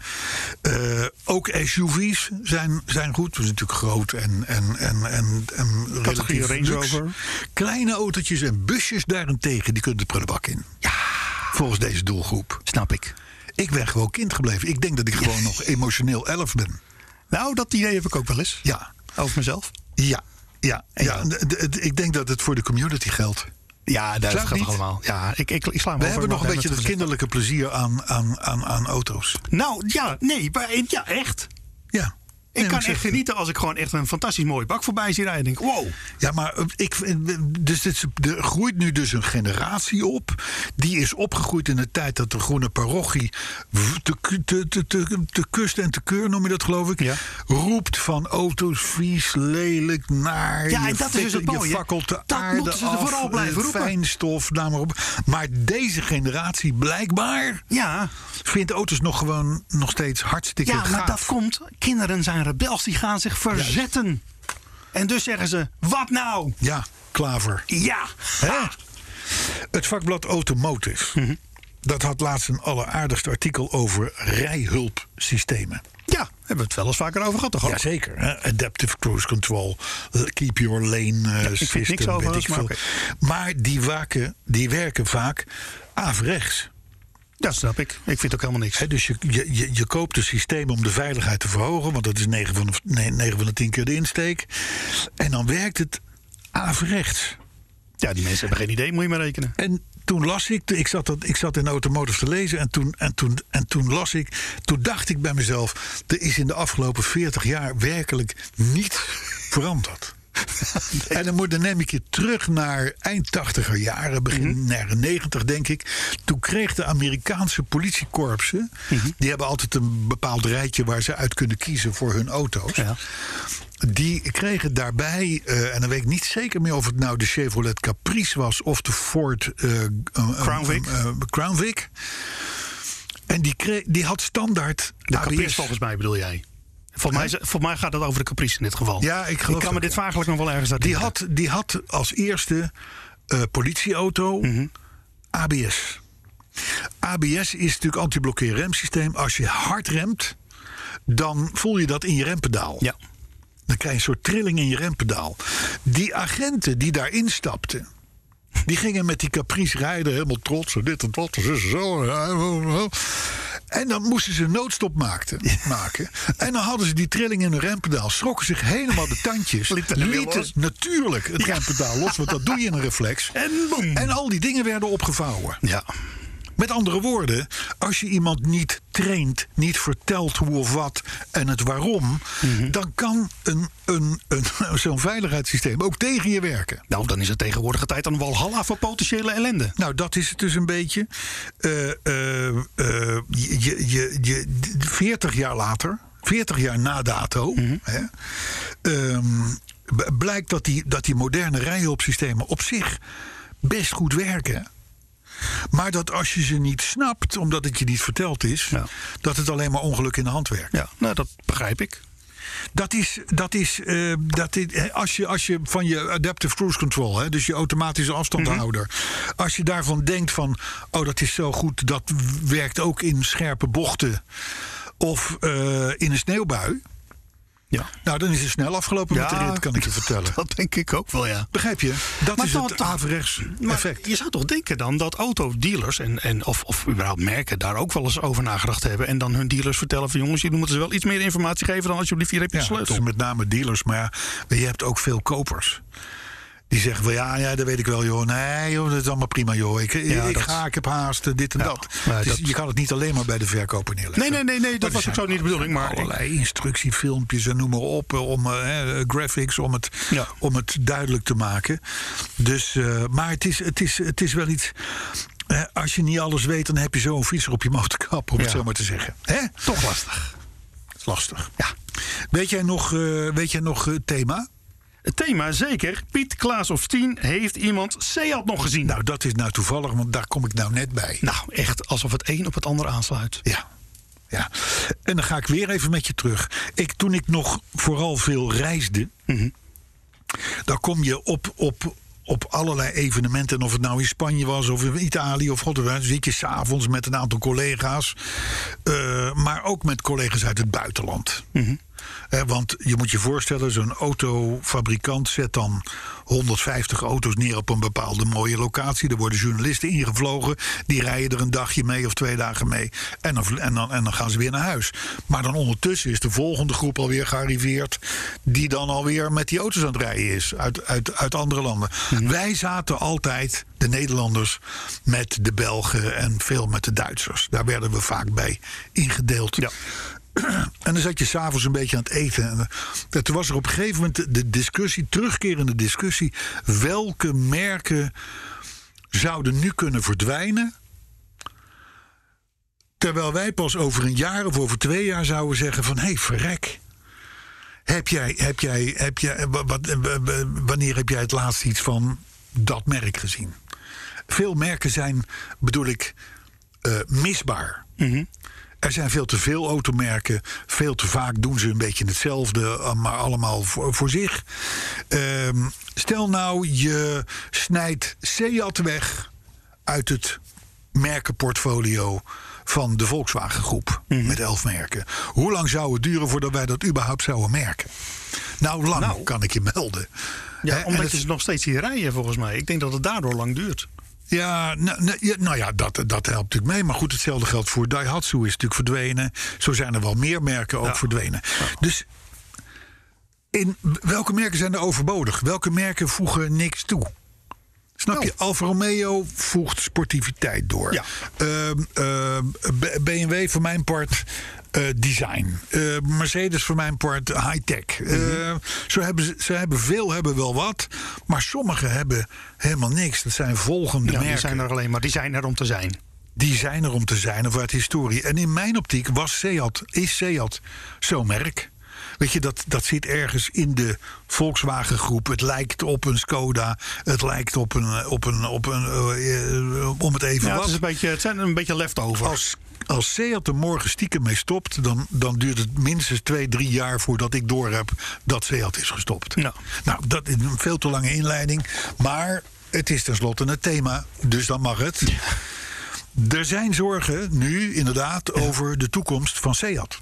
Speaker 2: Eh, ook SUV's zijn, zijn goed. Dat is natuurlijk groot en, en, en, en, en relatief
Speaker 3: Range
Speaker 2: luxe.
Speaker 3: Rover.
Speaker 2: Kleine autootjes en busjes daarentegen, die kunnen de prullenbak in. Ja. Volgens deze doelgroep.
Speaker 3: Snap ik.
Speaker 2: Ik ben gewoon kind gebleven. Ik denk dat ik gewoon nog emotioneel elf ben.
Speaker 3: Nou, dat idee heb ik ook wel eens.
Speaker 2: Ja,
Speaker 3: Over mezelf.
Speaker 2: Ja, ja, ja.
Speaker 3: dan?
Speaker 2: D- d- d- ik denk dat het voor de community geldt.
Speaker 3: Ja, dat
Speaker 2: Slaat
Speaker 3: gaat
Speaker 2: niet?
Speaker 3: allemaal. Ja, ik, ik, ik sla me
Speaker 2: We
Speaker 3: over,
Speaker 2: hebben
Speaker 3: maar
Speaker 2: nog een beetje
Speaker 3: het
Speaker 2: dat
Speaker 3: gezegd.
Speaker 2: kinderlijke plezier aan, aan, aan, aan auto's.
Speaker 3: Nou, ja, nee, maar ja, echt.
Speaker 2: Ja.
Speaker 3: Ik
Speaker 2: maar
Speaker 3: kan
Speaker 2: ik zeg
Speaker 3: echt
Speaker 2: het.
Speaker 3: genieten als ik gewoon echt een fantastisch mooie bak voorbij zie rijden. En denk, wow.
Speaker 2: Ja, maar eh, ik, eh, dus dit, is- er groeit nu dus een generatie op. Die is opgegroeid in de tijd dat de groene parochie w- te, ku- te, te, te, te kust en te keur, noem je dat geloof ik,
Speaker 3: Ja.
Speaker 2: roept van auto's vies, lelijk, naar.
Speaker 3: Ja, en dat is dus het mooie,
Speaker 2: Je
Speaker 3: hè?
Speaker 2: fakkelt de
Speaker 3: Dat
Speaker 2: aarde
Speaker 3: moeten ze er
Speaker 2: af,
Speaker 3: vooral blijven
Speaker 2: eh,
Speaker 3: roepen.
Speaker 2: Fijnstof, naam maar op. Maar deze generatie blijkbaar
Speaker 3: Ja,
Speaker 2: vindt auto's nog gewoon nog steeds hartstikke
Speaker 3: ja maar
Speaker 2: gaaf.
Speaker 3: dat komt. Kinderen zijn rebels, die gaan zich verzetten. En dus zeggen ze, wat nou?
Speaker 2: Ja, klaver.
Speaker 3: Ja.
Speaker 2: Hè? Het vakblad Automotive.
Speaker 3: Mhm.
Speaker 2: Dat had laatst een alleraardigst artikel over rijhulpsystemen.
Speaker 3: Ja, hebben we het wel eens vaker over gehad toch? ook?
Speaker 2: Jazeker, hè? adaptive cruise control, eh, keep your lane eh
Speaker 3: niks
Speaker 2: system,
Speaker 3: over,
Speaker 2: weet ik
Speaker 3: maar
Speaker 2: veel.
Speaker 3: oké.
Speaker 2: Maar die, waken, die werken vaak averechts.
Speaker 3: Dat snap ik. Ik vind het ook helemaal niks.
Speaker 2: Hè, dus je, je, je, je koopt een systeem om de veiligheid te verhogen, want dat is 9 van de, nee, 9 van de 10 keer de insteek. En dan werkt het averechts.
Speaker 3: Ja, die mensen hebben geen idee, moet je maar rekenen.
Speaker 2: En toen las ik, ik zat, dat, ik zat in Automotive te lezen en toen, en, toen, en toen las ik, toen dacht ik bij mezelf, er is in de afgelopen 40 jaar werkelijk niets veranderd. En dan, moet, dan neem ik je terug naar eind 80er jaren, begin jaren 90 denk ik. Toen kreeg de Amerikaanse politiekorpsen, die hebben altijd een bepaald rijtje waar ze uit kunnen kiezen voor hun auto's.
Speaker 3: Ja. Nou,
Speaker 2: Die kregen daarbij, eh, en dan weet ik niet zeker meer of het nou de Chevrolet Caprice was of de Ford eh, eh, eh,
Speaker 3: Crown Vic.
Speaker 2: eh, eh, Crown Vic. En die, kreeg, die had standaard
Speaker 3: De
Speaker 2: ABS.
Speaker 3: caprice volgens mij bedoel jij. Volgens mij, is- volgens mij gaat het over de caprice in dit geval.
Speaker 2: Ja, ik geloof
Speaker 3: Ik kan
Speaker 2: het
Speaker 3: me
Speaker 2: ook,
Speaker 3: dit
Speaker 2: ja.
Speaker 3: vagelijk nog wel ergens uit
Speaker 2: Die had, die had als eerste eh, politieauto
Speaker 3: Mhm.
Speaker 2: ABS. ABS is natuurlijk anti-blokkeerremsysteem. Als je hard remt, dan voel je dat in je rempedaal.
Speaker 3: Ja.
Speaker 2: Dan krijg je een soort trilling in je rempedaal. Die agenten die daar instapten. Die gingen met die caprice rijden, helemaal trots. en Dit en dat, en zus en zo. en ja, en zo. En dan moesten ze een noodstop maakten, maken. En dan hadden ze die trilling in hun rempedaal. Schrokken zich helemaal de tandjes.
Speaker 3: Lieten het weer los.
Speaker 2: natuurlijk het rempedaal los, want dat doe je in een reflex.
Speaker 3: En boem.
Speaker 2: En al die dingen werden opgevouwen.
Speaker 3: Ja.
Speaker 2: Met andere woorden, als je iemand niet traint, niet vertelt hoe of wat en het waarom, dan kan een, een, een, zo'n veiligheidssysteem ook tegen je werken.
Speaker 3: Nou, dan is het tegenwoordige tijd een walhalla voor potentiële ellende.
Speaker 2: Nou, dat is het dus een beetje. Eh, eh, eh, je, je, je, je- d- 40 jaar later, 40 jaar na dato,
Speaker 3: Mhm.
Speaker 2: hè, ehm, b- blijkt dat die, dat die moderne rijhulpsystemen op zich best goed werken. Maar dat als je ze niet snapt, omdat het je niet verteld is,
Speaker 3: Ja.
Speaker 2: dat het alleen maar ongeluk in de hand werkt.
Speaker 3: Ja, nou, dat begrijp ik.
Speaker 2: Dat is, dat is, eh, dat is hè, als, je, als je van je adaptive cruise control, hè, dus je automatische afstandhouder,
Speaker 3: Mhm.
Speaker 2: als je daarvan denkt van, oh dat is zo goed, dat werkt ook in scherpe bochten of eh, in een sneeuwbui,
Speaker 3: Ja.
Speaker 2: nou dan is het snel afgelopen met de
Speaker 3: Ja.
Speaker 2: rit, kan ik je vertellen.
Speaker 3: Dat denk ik ook wel, ja.
Speaker 2: Begrijp je? Dat
Speaker 3: Maar
Speaker 2: is
Speaker 3: dan-
Speaker 2: het averechts
Speaker 3: Maar
Speaker 2: effect.
Speaker 3: je zou toch denken dan dat autodealers en, en of, of überhaupt merken daar ook wel eens over nagedacht hebben. En dan hun dealers vertellen van jongens, jullie moeten ze wel iets meer informatie geven dan alsjeblieft hier heb je
Speaker 2: Ja,
Speaker 3: de
Speaker 2: dat is
Speaker 3: sleutel.
Speaker 2: met name dealers, maar ja, je hebt ook veel kopers. Die zeggen wel, ja, ja, dat weet ik wel, joh. Nee, joh, dat is allemaal prima, joh. Ik,
Speaker 3: Ja,
Speaker 2: ik
Speaker 3: dat-
Speaker 2: ga, ik heb haast, eh, dit en
Speaker 3: Ja,
Speaker 2: dat.
Speaker 3: maar
Speaker 2: Dus
Speaker 3: dat-
Speaker 2: Je kan het niet alleen maar bij de verkoper neerleggen.
Speaker 3: Nee, nee, nee, nee, dat
Speaker 2: Maar er
Speaker 3: was ook
Speaker 2: zijn
Speaker 3: zo niet de bedoeling, maar ik-
Speaker 2: Allerlei instructiefilmpjes en noem maar op, eh, om, eh, hè, graphics, om het,
Speaker 3: Ja.
Speaker 2: om het duidelijk te maken. Dus, eh, maar het is, het, is, het is wel iets... eh, als je niet alles weet, dan heb je zo'n fietser op je motorkap, om het
Speaker 3: Ja.
Speaker 2: zo maar te zeggen. Hè?
Speaker 3: Toch lastig.
Speaker 2: Lastig.
Speaker 3: Ja.
Speaker 2: Weet jij nog, eh, weet jij nog eh, thema?
Speaker 3: Het thema zeker. Piet, Klaas of Tien heeft iemand Seat nog gezien.
Speaker 2: Nou, dat is nou toevallig, want daar kom ik nou net bij.
Speaker 3: Nou, echt alsof het een op het ander aansluit.
Speaker 2: Ja. ja. En dan ga ik weer even met je terug. Ik, toen ik nog vooral veel reisde, dan kom je op, op, op allerlei evenementen. En of het nou in Spanje was of in Italië of god, dan zit je s'avonds met een aantal collega's. Eh, maar ook met collega's uit het buitenland. Hè, Eh, want je moet je voorstellen, zo'n autofabrikant zet dan 150 auto's neer op een bepaalde mooie locatie. Er worden journalisten ingevlogen, die rijden er een dagje mee of twee dagen mee. En dan, en dan, en dan gaan ze weer naar huis. Maar dan ondertussen is de volgende groep alweer gearriveerd, die dan alweer met die auto's aan het rijden is uit, uit, uit andere landen. Wij zaten altijd, de Nederlanders, met de Belgen en veel met de Duitsers. Daar werden we vaak bij ingedeeld.
Speaker 3: Ja.
Speaker 2: En dan zat je s'avonds een beetje aan het eten. En eh, toen was er op een gegeven moment de- de discussie, terugkerende discussie. Welke merken zouden nu kunnen verdwijnen? Terwijl wij pas over een jaar of over twee jaar zouden zeggen van... hé, hey, verrek. Heb jij, heb jij, heb jij, eh, wa- wat, eh, wa- wa- wanneer heb jij het laatst iets van dat merk gezien? Veel merken zijn, bedoel ik, eh, misbaar.
Speaker 3: Mhm.
Speaker 2: Er zijn veel te veel automerken. Veel te vaak doen ze een beetje hetzelfde, eh, maar allemaal voor, voor zich. Ehm, stel nou, je snijdt Seat weg uit het merkenportfolio van de Volkswagen Groep.
Speaker 3: Mhm.
Speaker 2: Met elf merken. Hoe lang zou het duren voordat wij dat überhaupt zouden merken? Nou, lang kan ik je melden.
Speaker 3: Ja,
Speaker 2: Hè, en
Speaker 3: omdat
Speaker 2: het-
Speaker 3: je ze nog steeds hier rijden, volgens mij. Ik denk dat het daardoor lang duurt.
Speaker 2: ja, nou, nou, ja, nou ja, dat, dat helpt natuurlijk mee. Maar goed, hetzelfde geldt voor Daihatsu is natuurlijk verdwenen. Zo zijn er wel meer merken ook verdwenen. Dus in welke merken zijn er overbodig? Welke merken voegen niks toe? Snap je? Alfa Romeo voegt sportiviteit door.
Speaker 3: Ja.
Speaker 2: Ehm, ehm, B- BMW voor mijn part eh, design. Eh, Mercedes voor mijn part high-tech. Eh, zo hebben ze, ze hebben veel hebben wel wat. Maar sommige hebben helemaal niks. Dat zijn volgende
Speaker 3: Ja, die
Speaker 2: merken.
Speaker 3: zijn er alleen maar. Die zijn er om te zijn.
Speaker 2: Die zijn er om te zijn of uit historie. En in mijn optiek was Seat, is Seat zo'n merk. Weet je, dat, dat zit ergens in de Volkswagen groep. Het lijkt op een Skoda. Het lijkt op een. eh, Op een, op een eh, eh, om het even
Speaker 3: Ja, het,
Speaker 2: wat.
Speaker 3: is een beetje, het zijn een beetje leftovers.
Speaker 2: Als, als Seat er morgen stiekem mee stopt, dan, dan duurt het minstens twee, drie jaar voordat ik doorheb dat Seat is gestopt.
Speaker 3: Ja.
Speaker 2: Nou, dat is een veel te lange inleiding. Maar het is tenslotte het thema, dus dan mag het. Er zijn zorgen nu inderdaad over de toekomst van Seat.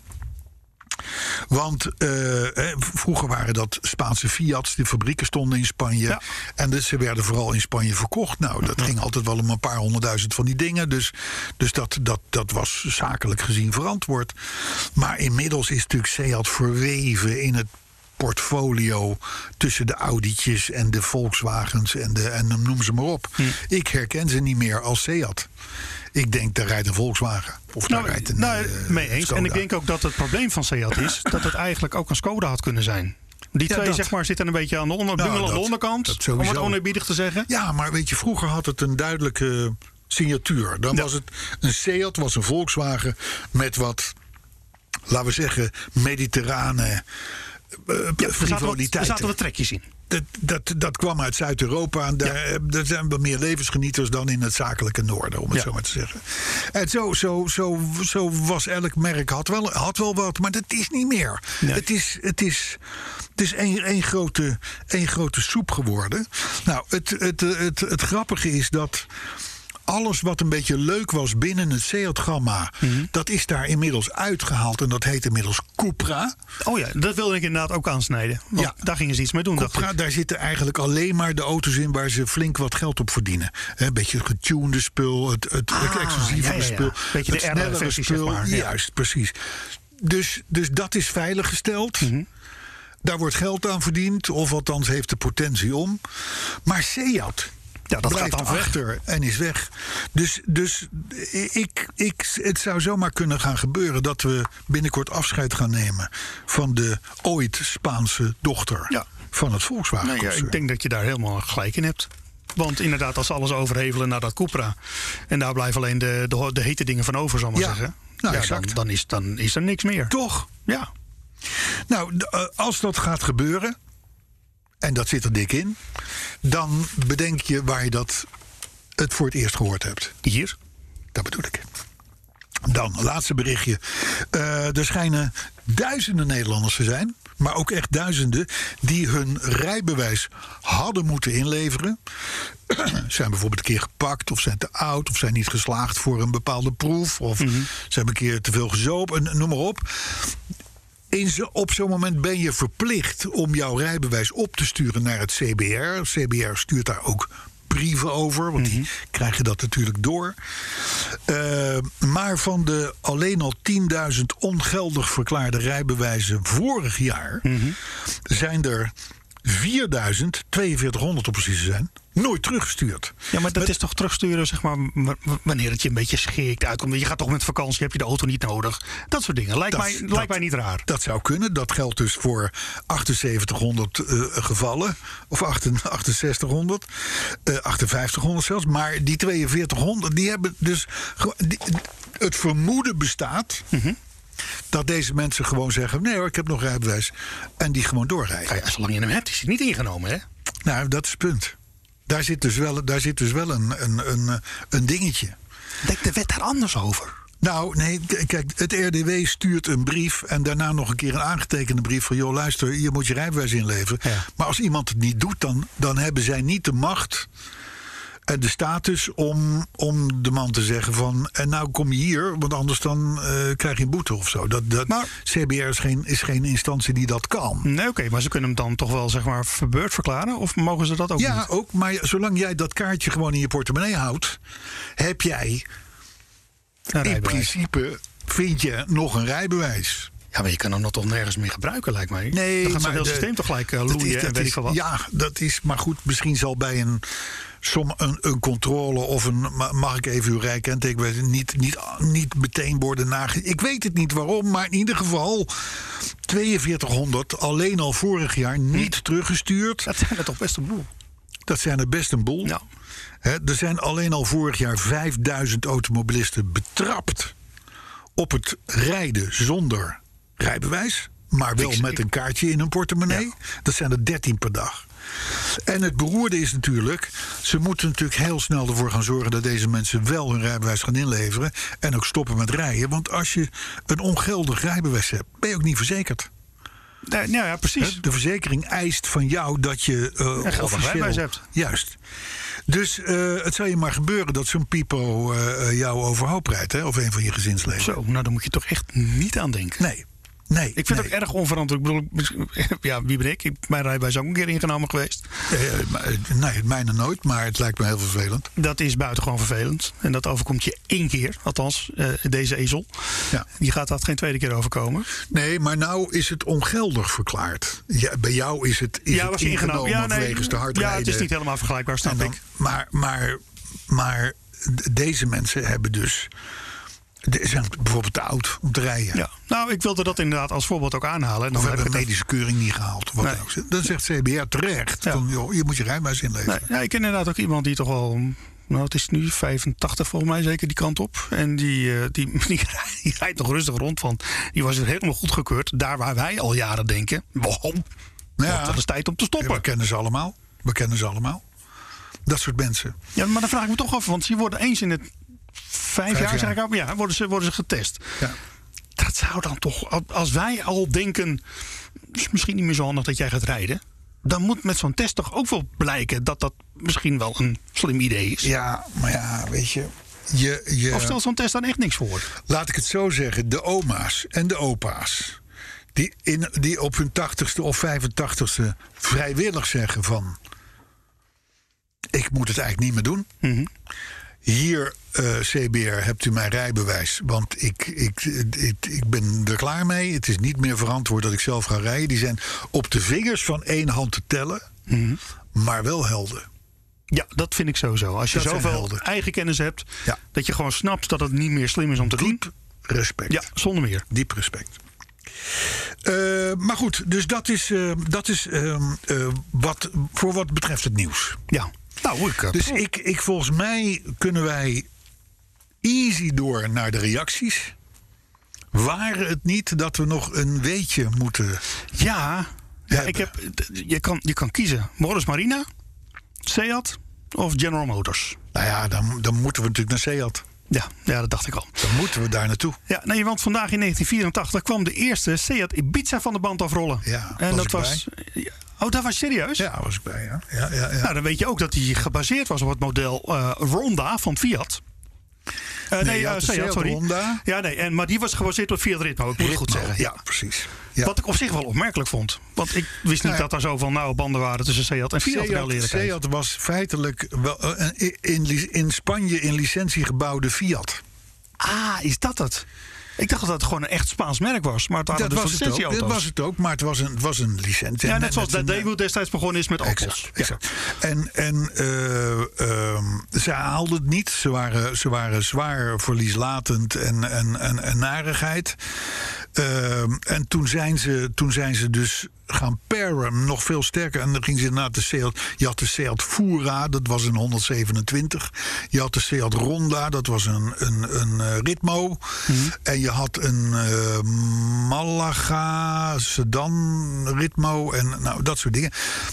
Speaker 2: Want eh, hè, v- vroeger waren dat Spaanse Fiat's, de fabrieken stonden in Spanje. En dus ze werden vooral in Spanje verkocht. Nou,
Speaker 3: Mhm.
Speaker 2: dat ging altijd wel om een paar honderdduizend van die dingen. Dus, dus dat, dat, dat was zakelijk gezien verantwoord. Maar inmiddels is natuurlijk Seat verweven in het portfolio tussen de Audi'tjes en de Volkswagens en, de, en noem ze maar op.
Speaker 3: Mhm.
Speaker 2: Ik herken ze niet meer als Seat. Ik denk, daar rijdt een Volkswagen. Of daar rijdt een
Speaker 3: nou,
Speaker 2: eh,
Speaker 3: mee eens. En ik
Speaker 2: Skoda.
Speaker 3: denk ook dat het probleem van Seat is dat het eigenlijk ook een Skoda had kunnen zijn. Die
Speaker 2: Ja,
Speaker 3: twee
Speaker 2: dat. Nou,
Speaker 3: zeg maar, zitten een beetje aan de, onder, bungelen aan de
Speaker 2: dat-
Speaker 3: onderkant.
Speaker 2: dat
Speaker 3: om
Speaker 2: sowieso.
Speaker 3: het oneerbiedig te zeggen.
Speaker 2: Ja, maar weet je, vroeger had het een duidelijke signatuur. Dan was het een Seat, was een Volkswagen met wat, laten we zeggen, mediterrane eh,
Speaker 3: er, zaten wat, er
Speaker 2: frivoliteiten.
Speaker 3: zaten wat trekjes in.
Speaker 2: dat, dat, dat kwam uit Zuid-Europa. En daar, eh, daar zijn we meer levensgenieters dan in het zakelijke noorden, om het
Speaker 3: Ja.
Speaker 2: zo maar te zeggen. En zo, zo, zo, zo was elk merk, had wel, had wel wat, maar dat is niet meer.
Speaker 3: Nee.
Speaker 2: Het is, het is, het is één één grote, één grote soep geworden. Nou, het, het, het, het, grappige is dat. Alles wat een beetje leuk was binnen het Seat-gamma...
Speaker 3: Mhm.
Speaker 2: dat is daar inmiddels uitgehaald en dat heet inmiddels Cupra.
Speaker 3: Oh ja, dat wilde ik inderdaad ook aansnijden. Want
Speaker 2: Ja.
Speaker 3: daar gingen ze iets mee doen. dacht ik.
Speaker 2: Cupra, daar zitten eigenlijk alleen maar de auto's in waar ze flink wat geld op verdienen. Hè, Een beetje het getunede spul, het, het, het exclusieve
Speaker 3: Ah, ja, ja, ja.
Speaker 2: spul,
Speaker 3: Beetje de
Speaker 2: het
Speaker 3: R-versie,
Speaker 2: snellere
Speaker 3: zeg
Speaker 2: spul.
Speaker 3: maar. Ja.
Speaker 2: Juist, precies. Dus, dus dat is veiliggesteld.
Speaker 3: Mhm.
Speaker 2: Daar wordt geld aan verdiend, of althans heeft de potentie om. Maar Seat
Speaker 3: Ja, dat
Speaker 2: blijft
Speaker 3: gaat dan weg.
Speaker 2: achter en is weg. Dus, dus ik, ik, het zou zomaar kunnen gaan gebeuren dat we binnenkort afscheid gaan nemen van de ooit Spaanse dochter
Speaker 3: Ja.
Speaker 2: van het Volkswagen.
Speaker 3: Nou ja, ik
Speaker 2: concern.
Speaker 3: denk dat je daar helemaal gelijk in hebt. Want inderdaad, als ze alles overhevelen naar dat Cupra... en daar blijven alleen de, de, ho- de hete dingen van over, zal ik maar
Speaker 2: Ja.
Speaker 3: zeggen...
Speaker 2: Nou,
Speaker 3: ja, dan,
Speaker 2: exact.
Speaker 3: dan, is, dan is er niks meer.
Speaker 2: Toch?
Speaker 3: Ja.
Speaker 2: Nou, d- eh, als dat gaat gebeuren, en dat zit er dik in, dan bedenk je waar je dat het voor het eerst gehoord hebt.
Speaker 3: Hier?
Speaker 2: Dat bedoel ik. Dan, laatste berichtje. Eh, er schijnen duizenden Nederlanders te zijn, maar ook echt duizenden, die hun rijbewijs hadden moeten inleveren. zijn bijvoorbeeld een keer gepakt, of zijn te oud, of zijn niet geslaagd voor een bepaalde proef, of ze hebben een keer te veel gezopen, en noem maar op. In zo, op zo'n moment ben je verplicht om jouw rijbewijs op te sturen naar het CBR. CBR stuurt daar ook brieven over, want
Speaker 3: Mhm.
Speaker 2: die krijgen dat natuurlijk door. Eh, maar van de alleen al 10.000
Speaker 3: Mhm.
Speaker 2: ongeldig verklaarde rijbewijzen vorig jaar... zijn er 4200 om precies te zijn, nooit teruggestuurd.
Speaker 3: Ja, maar dat is toch terugsturen, zeg maar, w- w- wanneer het je een beetje schikt uitkomt. Je gaat toch met vakantie, heb je de auto niet nodig. Dat soort dingen. Lijkt,
Speaker 2: Dat-
Speaker 3: mij,
Speaker 2: dat-
Speaker 3: lijkt mij niet raar.
Speaker 2: Dat zou kunnen. Dat geldt dus voor 7800 eh, gevallen. Of 8- 6800. eh 5800 zelfs. Maar die 4200, die hebben dus. ge- die- het vermoeden bestaat. Dat deze mensen gewoon zeggen: nee hoor, ik heb nog rijbewijs. En die gewoon doorrijden.
Speaker 3: Nou ja, zolang je hem hebt, is hij niet ingenomen, hè?
Speaker 2: Nou, dat is het punt. Daar zit dus wel, daar zit dus wel een, een, een, eh, een dingetje.
Speaker 3: Denkt de wet daar anders over?
Speaker 2: Nou, nee, k- kijk, het RDW stuurt een brief en daarna nog een keer een aangetekende brief van joh, luister, hier moet je rijbewijs inleveren.
Speaker 3: Ja.
Speaker 2: Maar als iemand het niet doet, dan, dan hebben zij niet de macht en de status om, om de man te zeggen van en nou kom je hier, want anders dan eh, krijg je een boete of zo. Dat, dat,
Speaker 3: Maar-
Speaker 2: CBR is geen, is geen instantie die dat kan.
Speaker 3: Nee, oké, maar ze kunnen hem dan toch wel, zeg maar, verbeurd verklaren? Of mogen ze dat ook
Speaker 2: Ja,
Speaker 3: niet?
Speaker 2: ook. Maar zolang jij dat kaartje gewoon in je portemonnee houdt, heb jij
Speaker 3: Een
Speaker 2: in
Speaker 3: rijbewijs.
Speaker 2: principe vind je nog een rijbewijs.
Speaker 3: Ja, maar je kan hem nog toch nergens meer gebruiken, lijkt mij.
Speaker 2: Nee,
Speaker 3: dan gaat zo'n
Speaker 2: maar
Speaker 3: heel
Speaker 2: de-
Speaker 3: systeem toch gelijk eh,
Speaker 2: dat
Speaker 3: loeien
Speaker 2: is- dat
Speaker 3: en weet
Speaker 2: is-
Speaker 3: ik veel wat.
Speaker 2: Ja, dat is. Maar goed, misschien zal bij een, som, een, een controle of een. ma- Mag ik even uw rijkenteken niet, niet, niet meteen worden nage. Ik weet het niet waarom, maar in ieder geval 4200 alleen al vorig jaar niet
Speaker 3: Hm.
Speaker 2: teruggestuurd.
Speaker 3: Dat zijn er toch best een boel.
Speaker 2: Dat zijn er best een boel.
Speaker 3: Ja.
Speaker 2: Hè, er zijn alleen al vorig jaar 5000 automobilisten betrapt op het rijden zonder rijbewijs, maar wel
Speaker 3: Ik-
Speaker 2: met een kaartje in hun portemonnee. Dat zijn er 13 per dag. En het beroerde is natuurlijk, ze moeten natuurlijk heel snel ervoor gaan zorgen dat deze mensen wel hun rijbewijs gaan inleveren en ook stoppen met rijden. Want als je een ongeldig rijbewijs hebt, ben je ook niet verzekerd.
Speaker 3: Nee, nou ja, precies.
Speaker 2: Hè? De verzekering eist van jou dat je eh
Speaker 3: geldig
Speaker 2: officieel...
Speaker 3: rijbewijs hebt.
Speaker 2: Juist. Dus eh, het zou je maar gebeuren dat zo'n pipo eh, eh, jou overhoop rijdt. Hè? Of een van je gezinsleden.
Speaker 3: Zo, nou dan moet je toch echt niet aan denken.
Speaker 2: Nee. Nee.
Speaker 3: Ik vind het ook erg onverantwoord. Ik bedoel, ja, wie ben ik? Ik- Mijn rijbewijs is ook een keer ingenomen geweest.
Speaker 2: Eh, nee, mijne nooit, maar het lijkt me heel vervelend.
Speaker 3: Dat is buitengewoon vervelend. En dat overkomt je één keer. Althans, eh, deze ezel.
Speaker 2: Ja.
Speaker 3: Die gaat dat geen tweede keer overkomen.
Speaker 2: Nee, maar nou is het ongeldig verklaard. Ja, bij jou is het, is het ingenomen wegens te hard
Speaker 3: ja
Speaker 2: rijden.
Speaker 3: het is niet helemaal vergelijkbaar, snap
Speaker 2: En dan-
Speaker 3: ik.
Speaker 2: Maar, maar, maar d- deze mensen hebben dus... de- zijn bijvoorbeeld te oud om te rijden.
Speaker 3: Ja. Nou, ik wilde dat inderdaad als voorbeeld ook aanhalen. En dan
Speaker 2: Of
Speaker 3: heb
Speaker 2: hebben
Speaker 3: ik
Speaker 2: een
Speaker 3: dat-
Speaker 2: medische keuring niet gehaald. Wat
Speaker 3: Nee.
Speaker 2: dan, ook. dan zegt CBR terecht.
Speaker 3: Ja.
Speaker 2: Van, joh, je moet je rijbewijs inleveren.
Speaker 3: Nee, ja, ik ken inderdaad ook iemand die toch wel. Nou, het is nu 85 volgens mij zeker die kant op. En die, eh, die, die, die rijdt nog rustig rond. Van. Die was er helemaal goedgekeurd. Daar waar wij al jaren denken. Wow,
Speaker 2: Nou Ja.
Speaker 3: dat is tijd om te
Speaker 2: Ja,
Speaker 3: stoppen.
Speaker 2: we kennen ze allemaal. We kennen ze allemaal. Dat soort mensen.
Speaker 3: Ja, maar dan vraag ik me toch af. Want ze worden eens in het vijf, jaar,
Speaker 2: jaar.
Speaker 3: zeg ik al, ja, worden, ze, worden ze getest.
Speaker 2: Ja.
Speaker 3: Dat zou dan toch. al- Als wij al denken. is misschien niet meer zo handig dat jij gaat rijden. Dan moet met zo'n test toch ook wel blijken dat dat misschien wel een slim idee is.
Speaker 2: ja, maar ja, weet je. je, je
Speaker 3: Of stelt zo'n test dan echt niks voor?
Speaker 2: Laat ik het zo zeggen. De oma's en de opa's. Die, in, die op hun tachtigste of 85ste vrijwillig zeggen van... Ik moet het eigenlijk niet meer doen. Hier, eh, CBR, hebt u mijn rijbewijs. Want ik, ik, ik, ik ben er klaar mee. Het is niet meer verantwoord dat ik zelf ga rijden. Die zijn op de vingers van één hand te tellen. Maar wel helden.
Speaker 3: Ja, dat vind ik sowieso. Als je
Speaker 2: Dat zijn
Speaker 3: zoveel
Speaker 2: helden.
Speaker 3: eigen kennis hebt,
Speaker 2: Ja.
Speaker 3: dat je gewoon snapt dat het niet meer slim is om te doen.
Speaker 2: Diep respect.
Speaker 3: Ja, zonder meer.
Speaker 2: Diep respect. Eh, maar goed, dus dat is, eh, dat is ehm, eh, wat, voor wat betreft het nieuws.
Speaker 3: Ja. Nou, ik, eh,
Speaker 2: Dus ik, ik, volgens mij kunnen wij easy door naar de reacties. Waren het niet dat we nog een weetje moeten.
Speaker 3: ja, ja
Speaker 2: Hebben.
Speaker 3: ik heb, je, kan, je kan kiezen. Morris Marina, Seat of General Motors.
Speaker 2: Nou ja, dan, dan moeten we natuurlijk naar Seat.
Speaker 3: Ja, ja, dat dacht ik al.
Speaker 2: Dan moeten we daar naartoe.
Speaker 3: Ja, nee, want vandaag in 1984 kwam de eerste Seat Ibiza van de band afrollen.
Speaker 2: Ja,
Speaker 3: en
Speaker 2: was
Speaker 3: dat
Speaker 2: ik
Speaker 3: was. Oh, dat was serieus?
Speaker 2: Ja, was ik bij. Ja, ja, ja, ja.
Speaker 3: Nou, dan weet je ook dat die gebaseerd was op het model eh Ronda van Fiat. Eh, nee,
Speaker 2: je
Speaker 3: eh,
Speaker 2: had de
Speaker 3: Seat,
Speaker 2: Seat
Speaker 3: sorry.
Speaker 2: Ronda.
Speaker 3: Ja, nee, en, maar die was gebaseerd op Fiat Ritmo, ik moet het goed zeggen.
Speaker 2: Ja, precies. Ja. Nou
Speaker 3: Wat ik op zich wel opmerkelijk vond. Want ik wist niet
Speaker 2: ja.
Speaker 3: dat er zoveel nauwe banden waren tussen Seat en Fiat. in alle
Speaker 2: Seat,
Speaker 3: eerlijkheid.
Speaker 2: Seat was feitelijk wel, eh, een in, in Spanje in licentie gebouwde Fiat.
Speaker 3: Ah, is dat het? Ik dacht dat het gewoon een echt Spaans merk was. Maar het waren
Speaker 2: Ah, Dat
Speaker 3: dus
Speaker 2: was, het ook,
Speaker 3: licentieauto's.
Speaker 2: dat was het ook, maar het was een, het was een licentie.
Speaker 3: Ja,
Speaker 2: En
Speaker 3: net
Speaker 2: met
Speaker 3: zoals dat
Speaker 2: een, eh,
Speaker 3: Daewoo destijds begonnen is met Opels.
Speaker 2: Exact. exact. En, en eh, ehm, ze haalden het niet. Ze waren, ze waren zwaar verlieslatend en, en, en, en narigheid. Ehm, en toen zijn, ze, toen zijn ze dus gaan paren nog veel sterker. En dan gingen ze inderdaad de Seat... Je had de Seat Fura, dat was een 127. Je had de Seat Ronda, dat was een, een, een eh, Ritmo. En je had een eh Malaga, Sedan, Ritmo en nou, dat soort dingen.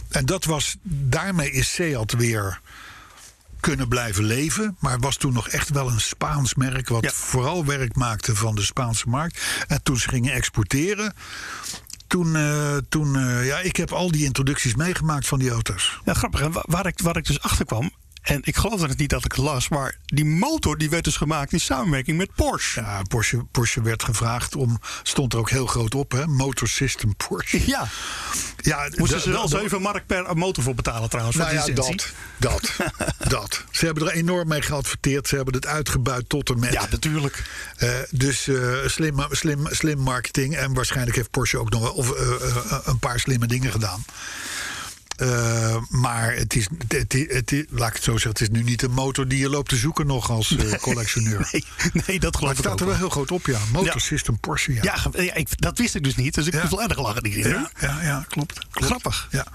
Speaker 2: En dat was, daarmee is Seat weer kunnen blijven leven. Maar was toen nog echt wel een Spaans merk... wat
Speaker 3: Ja.
Speaker 2: vooral werk maakte van de Spaanse markt. En toen ze gingen exporteren... Toen, eh, toen eh, ja, ik heb al die introducties meegemaakt van die auto's.
Speaker 3: Ja, grappig. En wa- waar ik, waar ik dus achter kwam. En ik geloof dat het niet dat ik het las. Maar die motor die werd dus gemaakt in samenwerking met Porsche.
Speaker 2: Ja, Porsche, Porsche werd gevraagd om, stond er ook heel groot op, hè? Motor System Porsche.
Speaker 3: Ja,
Speaker 2: Ja,
Speaker 3: moesten
Speaker 2: da-
Speaker 3: ze wel
Speaker 2: da-
Speaker 3: 7 mark per motor voor betalen trouwens.
Speaker 2: Nou
Speaker 3: voor
Speaker 2: ja,
Speaker 3: die licentie.
Speaker 2: dat, dat, dat. Ze hebben er enorm mee geadverteerd. Ze hebben het uitgebuit tot en met.
Speaker 3: Ja, natuurlijk.
Speaker 2: Eh, dus eh, slim, slim, slim marketing. En waarschijnlijk heeft Porsche ook nog wel of, eh, eh, een paar slimme dingen gedaan. Eh, maar het is, het, het, het- laat ik het zo zeggen, het is nu niet een motor die je loopt te zoeken nog als eh, collectioneur.
Speaker 3: Nee, nee dat
Speaker 2: maar
Speaker 3: geloof
Speaker 2: het
Speaker 3: ik ook
Speaker 2: staat er wel
Speaker 3: wel.
Speaker 2: heel groot op, ja. Motor
Speaker 3: Ja.
Speaker 2: System Porsche, ja.
Speaker 3: Ja, ge- ja ik, dat wist ik dus niet. Dus ik
Speaker 2: Ja.
Speaker 3: moest wel erg lachen die keer.
Speaker 2: ja, ja, ja, klopt. klopt.
Speaker 3: Grappig.
Speaker 2: Ja.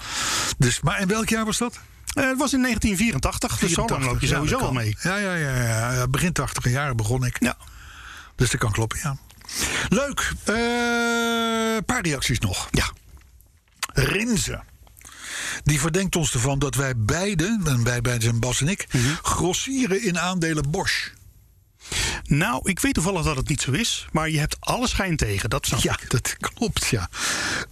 Speaker 2: Dus, maar in welk jaar was dat?
Speaker 3: Eh, het was in 1984, dus zo lang loop je
Speaker 2: 84, ja,
Speaker 3: sowieso
Speaker 2: dat
Speaker 3: al
Speaker 2: kan.
Speaker 3: mee.
Speaker 2: Ja, ja, ja, ja, ja. Begin 80 jaren begon ik.
Speaker 3: Ja.
Speaker 2: Dus dat kan kloppen, ja. Leuk. Eh, Een paar reacties nog.
Speaker 3: Ja.
Speaker 2: Rinze. Die verdenkt ons ervan dat wij beiden, en wij beiden zijn Bas en ik, grossieren in aandelen Bosch.
Speaker 3: Nou, ik weet toevallig dat het niet zo is. Maar je hebt alle schijn tegen, dat snap
Speaker 2: Ja,
Speaker 3: ik.
Speaker 2: dat klopt, ja.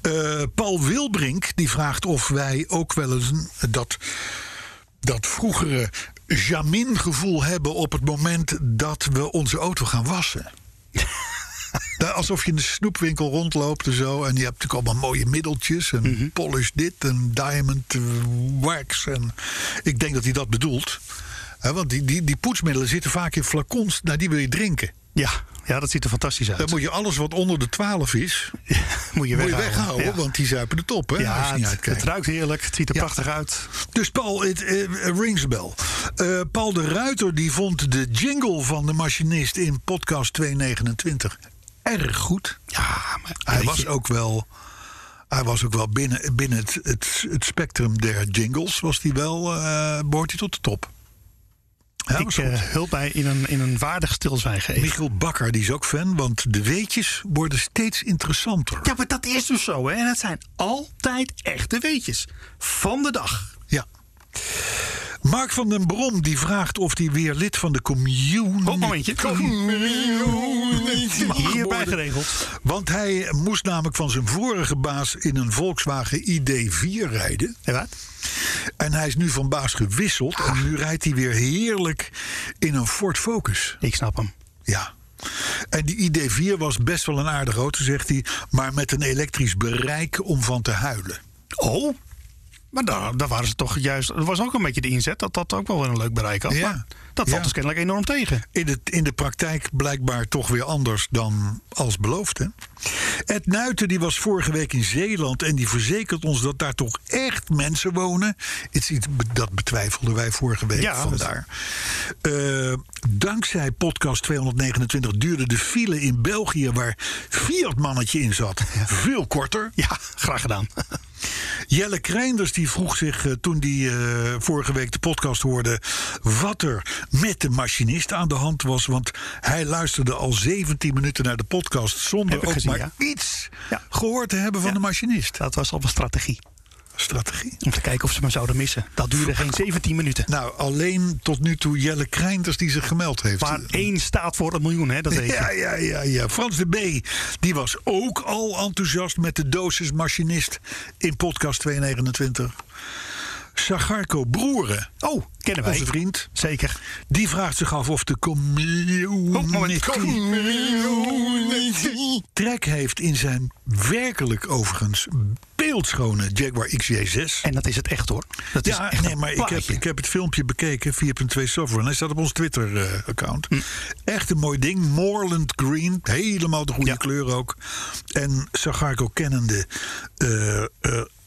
Speaker 2: Eh, Paul Wilbrink die vraagt of wij ook wel eens dat, dat vroegere Jamin-gevoel hebben op het moment dat we onze auto gaan wassen. Nou, Alsof je in de snoepwinkel rondloopt en zo. En je hebt natuurlijk allemaal mooie middeltjes. En polish dit en diamond eh, wax. En ik denk dat hij dat bedoelt. Hè, want die, die, die poetsmiddelen zitten vaak in flacons. Nou, die wil je drinken.
Speaker 3: Ja, ja dat ziet er fantastisch uit.
Speaker 2: Dan moet je alles wat onder de 12 is,
Speaker 3: Moet je
Speaker 2: moet je
Speaker 3: weghouden.
Speaker 2: weghouden,
Speaker 3: Ja.
Speaker 2: want die zuipen de top. Hè, als
Speaker 3: Ja,
Speaker 2: je niet
Speaker 3: het, het
Speaker 2: uitkijkt.
Speaker 3: ruikt heerlijk. Het ziet er
Speaker 2: Ja.
Speaker 3: prachtig uit.
Speaker 2: Dus Paul, het eh, rings a bell. Eh, Paul de Ruiter die vond de jingle van de machinist in podcast 229 erg goed.
Speaker 3: Ja, maar
Speaker 2: Hij was ook wel, hij was ook wel binnen, binnen het, het, het spectrum der jingles. Was hij wel, eh behoort hij tot de top. Ja,
Speaker 3: ik
Speaker 2: was goed.
Speaker 3: eh, hulp bij in een, in een waardig stilzwijgen. even.
Speaker 2: Michiel Bakker die is ook fan, want de weetjes worden steeds interessanter.
Speaker 3: Ja, maar dat is dus zo, hè? En het zijn altijd echte weetjes. Van de dag.
Speaker 2: Ja. Mark van den Brom die vraagt of hij weer lid van de commune.
Speaker 3: Op momentje.
Speaker 2: Community mag
Speaker 3: Hierbij
Speaker 2: worden.
Speaker 3: geregeld.
Speaker 2: Want hij moest namelijk van zijn vorige baas in een Volkswagen ID4 rijden.
Speaker 3: En wat?
Speaker 2: En hij is nu van baas gewisseld. En nu rijdt hij weer heerlijk in een Ford Focus.
Speaker 3: Ik snap hem.
Speaker 2: Ja. En die ID4 was best wel een aardige auto, zegt hij. Maar met een elektrisch bereik om van te huilen.
Speaker 3: Oh. Maar daar, daar waren ze toch juist... Dat was ook een beetje de inzet dat dat ook wel weer een leuk bereik had.
Speaker 2: Ja.
Speaker 3: Maar dat valt
Speaker 2: Ja.
Speaker 3: dus kennelijk enorm tegen.
Speaker 2: in, het, in de praktijk blijkbaar toch weer anders dan als beloofd. Hè? Ed Nuiten die was vorige week in Zeeland en die verzekert ons dat daar toch echt mensen wonen. Het is iets, dat betwijfelden wij vorige week
Speaker 3: Ja,
Speaker 2: vandaar. Eh, dankzij podcast 229 duurde de file in België waar Fiat mannetje in zat veel korter.
Speaker 3: Ja, graag gedaan.
Speaker 2: Jelle Kreinders die vroeg zich eh, toen die eh, vorige week de podcast hoorde... wat er met de machinist aan de hand was. Want hij luisterde al 17 minuten naar de podcast... zonder
Speaker 3: Heb ik
Speaker 2: ook
Speaker 3: gezien,
Speaker 2: maar
Speaker 3: ja.
Speaker 2: iets
Speaker 3: Ja.
Speaker 2: gehoord te hebben van
Speaker 3: Ja.
Speaker 2: de machinist.
Speaker 3: Dat was al een strategie.
Speaker 2: Strategie.
Speaker 3: Om te kijken of ze me zouden missen. Dat duurde geen 17 minuten.
Speaker 2: Nou, alleen tot nu toe Jelle Kreinders die zich gemeld heeft. Eh,
Speaker 3: Maar één staat voor een miljoen, hè? Dat weet je.
Speaker 2: Ja, ja, ja, ja. Frans de B. Die was ook al enthousiast met de dosis machinist in podcast 229. Sagarco Broeren,
Speaker 3: Oh, kennen wij.
Speaker 2: onze vriend,
Speaker 3: Zeker.
Speaker 2: die vraagt zich af of de
Speaker 3: Oh, moment.
Speaker 2: community trek heeft in zijn werkelijk overigens beeldschone Jaguar XJ6.
Speaker 3: En dat is het echt hoor. Dat is
Speaker 2: ja,
Speaker 3: echt
Speaker 2: nee,
Speaker 3: een
Speaker 2: maar ik heb,
Speaker 3: plaatje.
Speaker 2: ik heb het filmpje bekeken, 4.2 Sovereign. Hij staat op ons Twitter-account.
Speaker 3: Hm.
Speaker 2: Echt een mooi ding. Moorland Green. Helemaal de goede
Speaker 3: Ja.
Speaker 2: kleur ook. En Sagarco kennende. eh, eh,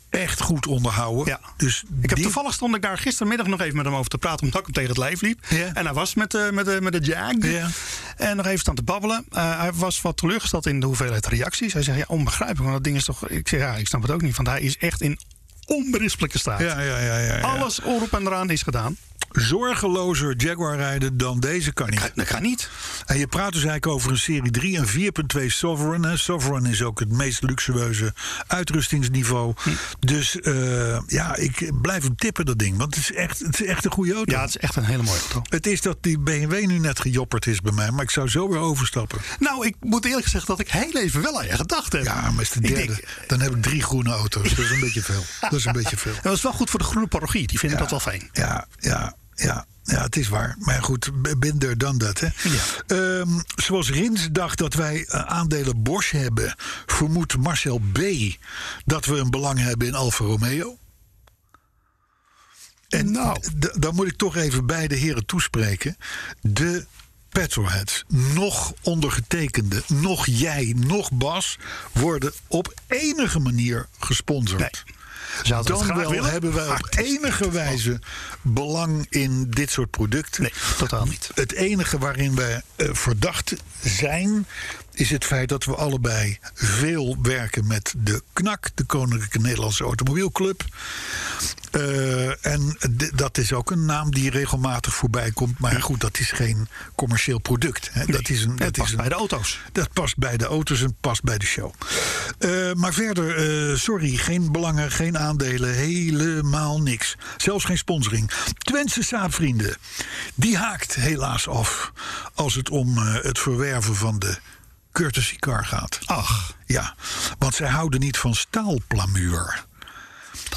Speaker 2: echt goed onderhouden.
Speaker 3: Ja.
Speaker 2: Dus
Speaker 3: Ik heb
Speaker 2: die-
Speaker 3: toevallig stond ik daar gistermiddag nog even met hem over te praten, omdat ik hem tegen het lijf liep.
Speaker 2: Ja.
Speaker 3: En hij was met, eh, met, eh, met de Jag.
Speaker 2: Ja.
Speaker 3: En nog even staan te babbelen. Eh, hij was wat teleurgesteld in de hoeveelheid reacties. Hij zei, ja, onbegrijpelijk, want dat ding is toch... Ik zeg, ja, ik snap het ook niet, want hij is echt in onberispelijke staat.
Speaker 2: Ja, ja, ja, ja, ja.
Speaker 3: Alles erop en eraan is gedaan.
Speaker 2: Zorgelozer Jaguar rijden dan deze kan niet.
Speaker 3: Dat kan niet.
Speaker 2: En je praat dus eigenlijk over een serie 3 en 4.2 Sovereign. Hè. Sovereign is ook het meest luxueuze uitrustingsniveau. Dus eh, ja, ik blijf hem tippen, dat ding. Want het is echt, het is echt een goede auto.
Speaker 3: Ja, het is echt een hele mooie auto.
Speaker 2: Het is dat die BMW nu net gejopperd is bij mij, maar ik zou zo weer overstappen.
Speaker 3: Nou, ik moet eerlijk zeggen dat ik heel even wel aan je gedacht heb.
Speaker 2: Ja, maar is de
Speaker 3: Ik
Speaker 2: derde.
Speaker 3: denk,
Speaker 2: Dan heb ik drie groene auto's. Dat is een beetje veel. Dat is een beetje veel.
Speaker 3: dat is wel goed voor de groene parochie. Die vinden dat wel fijn.
Speaker 2: Ja, ja, ja. Ja, het is waar. Maar goed, been there, done that. Hè? Ehm, zoals Rins dacht dat wij eh, aandelen Bosch hebben... vermoedt Marcel B. dat we een belang hebben in Alfa Romeo. En
Speaker 3: Nou.
Speaker 2: d- dan moet ik toch even beide heren toespreken. De petrolheads, nog ondergetekende, nog jij, nog Bas... worden op enige manier gesponsord.
Speaker 3: Nee. Zouden we dat
Speaker 2: Dan
Speaker 3: graag
Speaker 2: wel
Speaker 3: willen?
Speaker 2: hebben wij
Speaker 3: Maar
Speaker 2: op
Speaker 3: het is
Speaker 2: enige wijze belang in dit soort producten.
Speaker 3: Nee, totaal niet.
Speaker 2: Het enige waarin wij eh, verdacht zijn, is het feit dat we allebei veel werken met de KNAK, de Koninklijke Nederlandse Automobielclub. Eh, en d- dat is ook een naam die regelmatig voorbij komt. Maar goed, dat is geen commercieel product. Hè. Dat is een,
Speaker 3: Het
Speaker 2: dat
Speaker 3: past
Speaker 2: is een,
Speaker 3: bij de auto's.
Speaker 2: dat past bij de auto's en past bij de show. Eh, maar verder, eh, sorry, geen belangen, geen aandelen, helemaal niks. Zelfs geen sponsoring. Twentse saapvrienden, die haakt helaas af als het om eh, het verwerven van de courtesy car gaat.
Speaker 3: Ach,
Speaker 2: Ja, want zij houden niet van staalplamuur.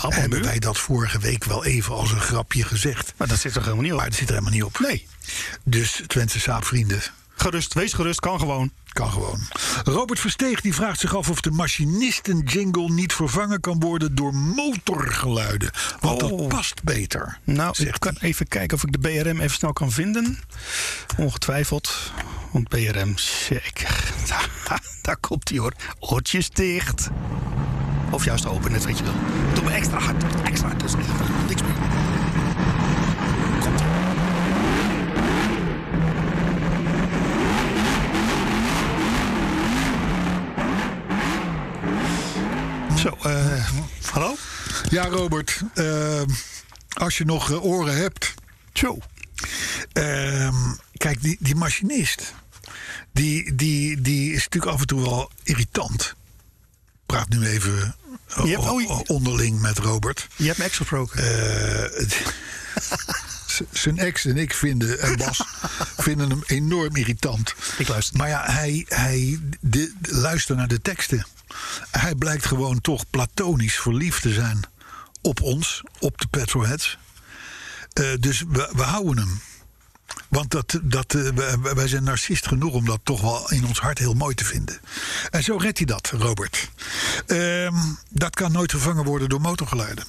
Speaker 2: Hebben wij dat vorige week wel even als een grapje gezegd.
Speaker 3: Maar dat zit toch helemaal niet op?
Speaker 2: Maar het zit er helemaal niet op.
Speaker 3: Nee.
Speaker 2: Dus Twentse saapvrienden,
Speaker 3: Gerust, wees gerust, kan gewoon.
Speaker 2: Kan gewoon. Robert Versteeg die vraagt zich af of de machinisten-jingle niet vervangen kan worden door motorgeluiden. Want dat
Speaker 3: Oh.
Speaker 2: past beter.
Speaker 3: Nou, ik
Speaker 2: zegt
Speaker 3: kan
Speaker 2: hij.
Speaker 3: even kijken of ik de BRM even snel kan vinden. Ongetwijfeld. Want BRM, zeker. Daar, daar komt hij hoor. Oortjes dicht. Of juist open, net weet je wel. Doe me extra hard. Extra hard. Dus echt niks meer. Komt ie. Zo, eh, hallo?
Speaker 2: Ja, Robert, eh, als je nog eh, oren hebt.
Speaker 3: Zo.
Speaker 2: eh, kijk, die, die machinist. Die, die, die is natuurlijk af en toe wel irritant. Ik praat nu even eh,
Speaker 3: Je hebt- oh, je-
Speaker 2: o- onderling met Robert.
Speaker 3: Je hebt me echt gesproken.
Speaker 2: Eh, het- z- zijn ex en ik vinden, en Bas, vinden hem enorm irritant.
Speaker 3: Ik luister.
Speaker 2: Maar ja, hij, hij de, de- luistert naar de teksten. Hij blijkt gewoon toch platonisch verliefd te zijn op ons, op de petrolheads. Eh, dus we, we houden hem. Want dat, dat, eh, wij- wij- wij zijn narcist genoeg om dat toch wel in ons hart heel mooi te vinden. En zo redt hij dat, Robert. Ehm, dat kan nooit vervangen worden door motorgeluiden.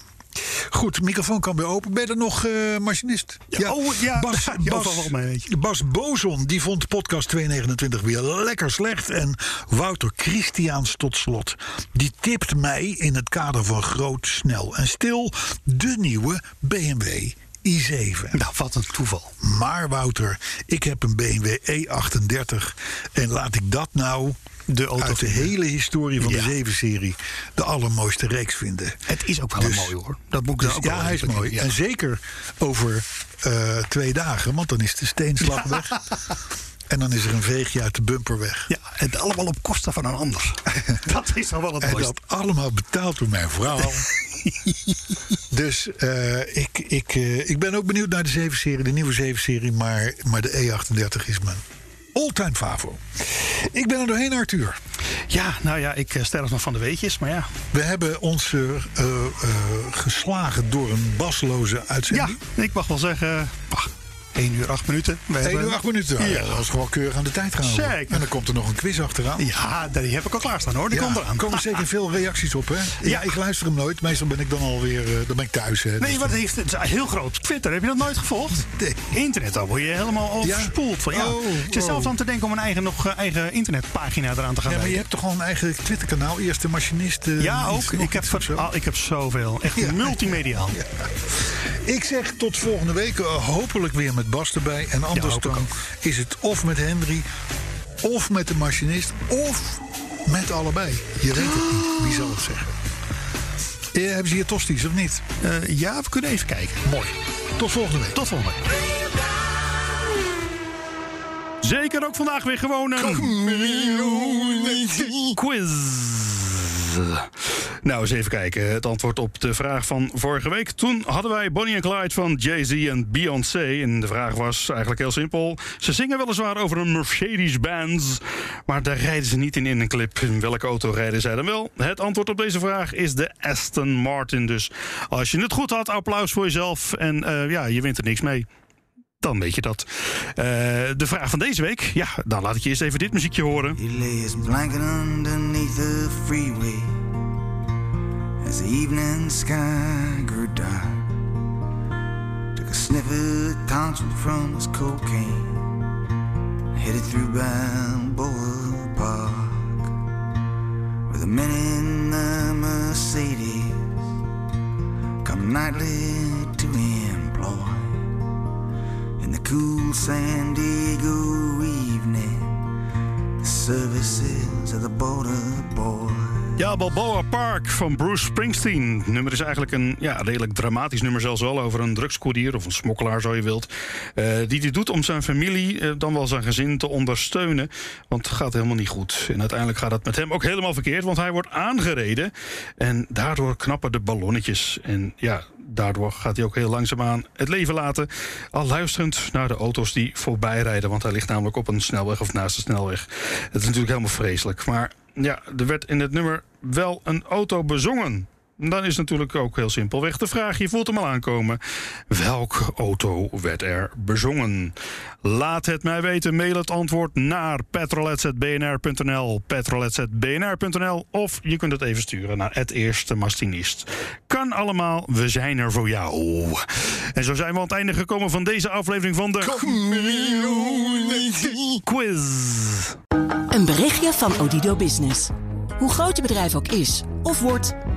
Speaker 2: Goed, microfoon kan weer open. Ben je er nog eh, machinist?
Speaker 3: Ja, oh, ja,
Speaker 2: Bas,
Speaker 3: je
Speaker 2: Bas,
Speaker 3: overvalt mij, weet
Speaker 2: Bas Bozon die vond podcast 229 weer lekker slecht. En Wouter Christiaans tot slot. Die tipt mij in het kader van groot, snel en stil... de nieuwe BMW i7.
Speaker 3: Nou, wat een toeval.
Speaker 2: Maar Wouter, ik heb een BMW E38. E En laat ik dat nou
Speaker 3: De auto
Speaker 2: uit de
Speaker 3: vinden.
Speaker 2: hele historie van
Speaker 3: Ja.
Speaker 2: de 7-serie... de allermooiste reeks vinden.
Speaker 3: Het is ook wel
Speaker 2: Dus-
Speaker 3: een mooi hoor. Dat moet ik dan
Speaker 2: Dus
Speaker 3: ook
Speaker 2: ja,
Speaker 3: wel
Speaker 2: hij is
Speaker 3: even
Speaker 2: mooi.
Speaker 3: bedenken.
Speaker 2: En zeker over eh, twee dagen, want dan is de steenslag weg. En dan is er een veegje uit de bumper weg.
Speaker 3: Ja, en allemaal op kosten van een ander. dat is dan wel het
Speaker 2: En
Speaker 3: mooiste.
Speaker 2: dat allemaal betaald door mijn vrouw. dus eh, ik, ik, eh, ik ben ook benieuwd naar de 7-serie, de nieuwe 7-serie. Maar, maar de E38 is mijn all-time favo. Ik ben er doorheen, Arthur.
Speaker 3: Ja, nou ja, ik eh, sterf nog van de weetjes, maar ja.
Speaker 2: We hebben ons eh, eh, eh, geslagen door een basloze
Speaker 3: Ja,
Speaker 2: uitzending.
Speaker 3: ik mag wel zeggen, ach, 1 uur 8 minuten. We
Speaker 2: 1
Speaker 3: hebben-
Speaker 2: uur 8 minuten.
Speaker 3: Ja.
Speaker 2: Ja. Dat is gewoon keurig aan de tijd gaan.
Speaker 3: Zeker.
Speaker 2: En dan komt er nog een quiz achteraan.
Speaker 3: Ja, die heb ik al klaarstaan hoor, die
Speaker 2: Ja,
Speaker 3: komt eraan. Nou,
Speaker 2: Er komen zeker veel reacties op, hè? Ja.
Speaker 3: Ja.
Speaker 2: ik luister hem nooit. Meestal ben ik dan alweer eh, dan ben ik thuis. Hè, Dus
Speaker 3: Nee, wat heeft het? is Heel groot. Twitter, heb je dat nooit gevolgd?
Speaker 2: Nee.
Speaker 3: Internet, daar word je helemaal overspoeld van. Ja.
Speaker 2: Oh,
Speaker 3: Ik zit zelfs
Speaker 2: oh.
Speaker 3: aan te denken om een eigen, nog, eh, eigen internetpagina eraan te gaan
Speaker 2: Ja, maar je
Speaker 3: wijden.
Speaker 2: hebt toch gewoon een eigen Twitterkanaal? Eerst de machinist. eh,
Speaker 3: Ja,
Speaker 2: iets,
Speaker 3: ook.
Speaker 2: nog
Speaker 3: Ik heb,
Speaker 2: iets of
Speaker 3: ver-
Speaker 2: zo.
Speaker 3: ah, ik heb zoveel. Echt
Speaker 2: Ja.
Speaker 3: multimediaal.
Speaker 2: Ja. Ik zeg tot volgende week. eh, hopelijk weer met Bas erbij. En anders
Speaker 3: hoop ik
Speaker 2: dan
Speaker 3: ook.
Speaker 2: is het of met Henry, of met de machinist, of met allebei. Je weet het niet. Wie zal het zeggen? Eh, hebben ze hier tosties of niet?
Speaker 3: Eh, ja, we kunnen even kijken.
Speaker 2: Mooi. Tot volgende week.
Speaker 3: Tot volgende week. Zeker ook vandaag weer gewoon een quiz. Nou, eens even kijken. Het antwoord op de vraag van vorige week. Toen hadden wij Bonnie en Clyde van Jay-Z en Beyoncé. En de vraag was eigenlijk heel simpel. Ze zingen weliswaar over een Mercedes-Benz. Maar daar rijden ze niet in in een clip. In welke auto rijden zij dan wel? Het antwoord op deze vraag is de Aston Martin. Dus als je het goed had, applaus voor jezelf. En eh, ja, je wint er niks mee. Dan weet je dat. Eh, de vraag van deze week. Ja, dan laat ik je eerst even dit muziekje horen.
Speaker 5: He lay his blanket underneath the freeway as the evening sky grew dark. Took a sniff of conscience from his cocaine, headed through Balboa Park with the men in the Mercedes come nightly to employ in the cool San Diego evening services of the border boy.
Speaker 3: Ja, Balboa Park van Bruce Springsteen. Het nummer is eigenlijk een ja, redelijk dramatisch nummer, zelfs wel over een drugscourier of een smokkelaar, zo je wilt. eh, die dit doet om zijn familie, eh, dan wel zijn gezin, te ondersteunen. Want het gaat helemaal niet goed. En uiteindelijk gaat het met hem ook helemaal verkeerd, want hij wordt aangereden. En daardoor knappen de ballonnetjes. En ja, daardoor gaat hij ook heel langzaamaan het leven laten. Al luisterend naar de auto's die voorbij rijden, want hij ligt namelijk op een snelweg of naast de snelweg. Het is natuurlijk helemaal vreselijk. Maar ja, er werd in het nummer wel een auto bezongen. Dan is natuurlijk ook heel simpelweg de vraag, je voelt hem al aankomen. Welke auto werd er bezongen? Laat het mij weten, mail het antwoord naar petrolets.bnr.nl petrolets.bnr.nl of je kunt het even sturen naar het eerste mastinist. Kan allemaal, we zijn er voor jou. En zo zijn we aan het einde gekomen van deze aflevering van de... Quiz.
Speaker 6: Een berichtje van Odido Business. Hoe groot je bedrijf ook is of wordt,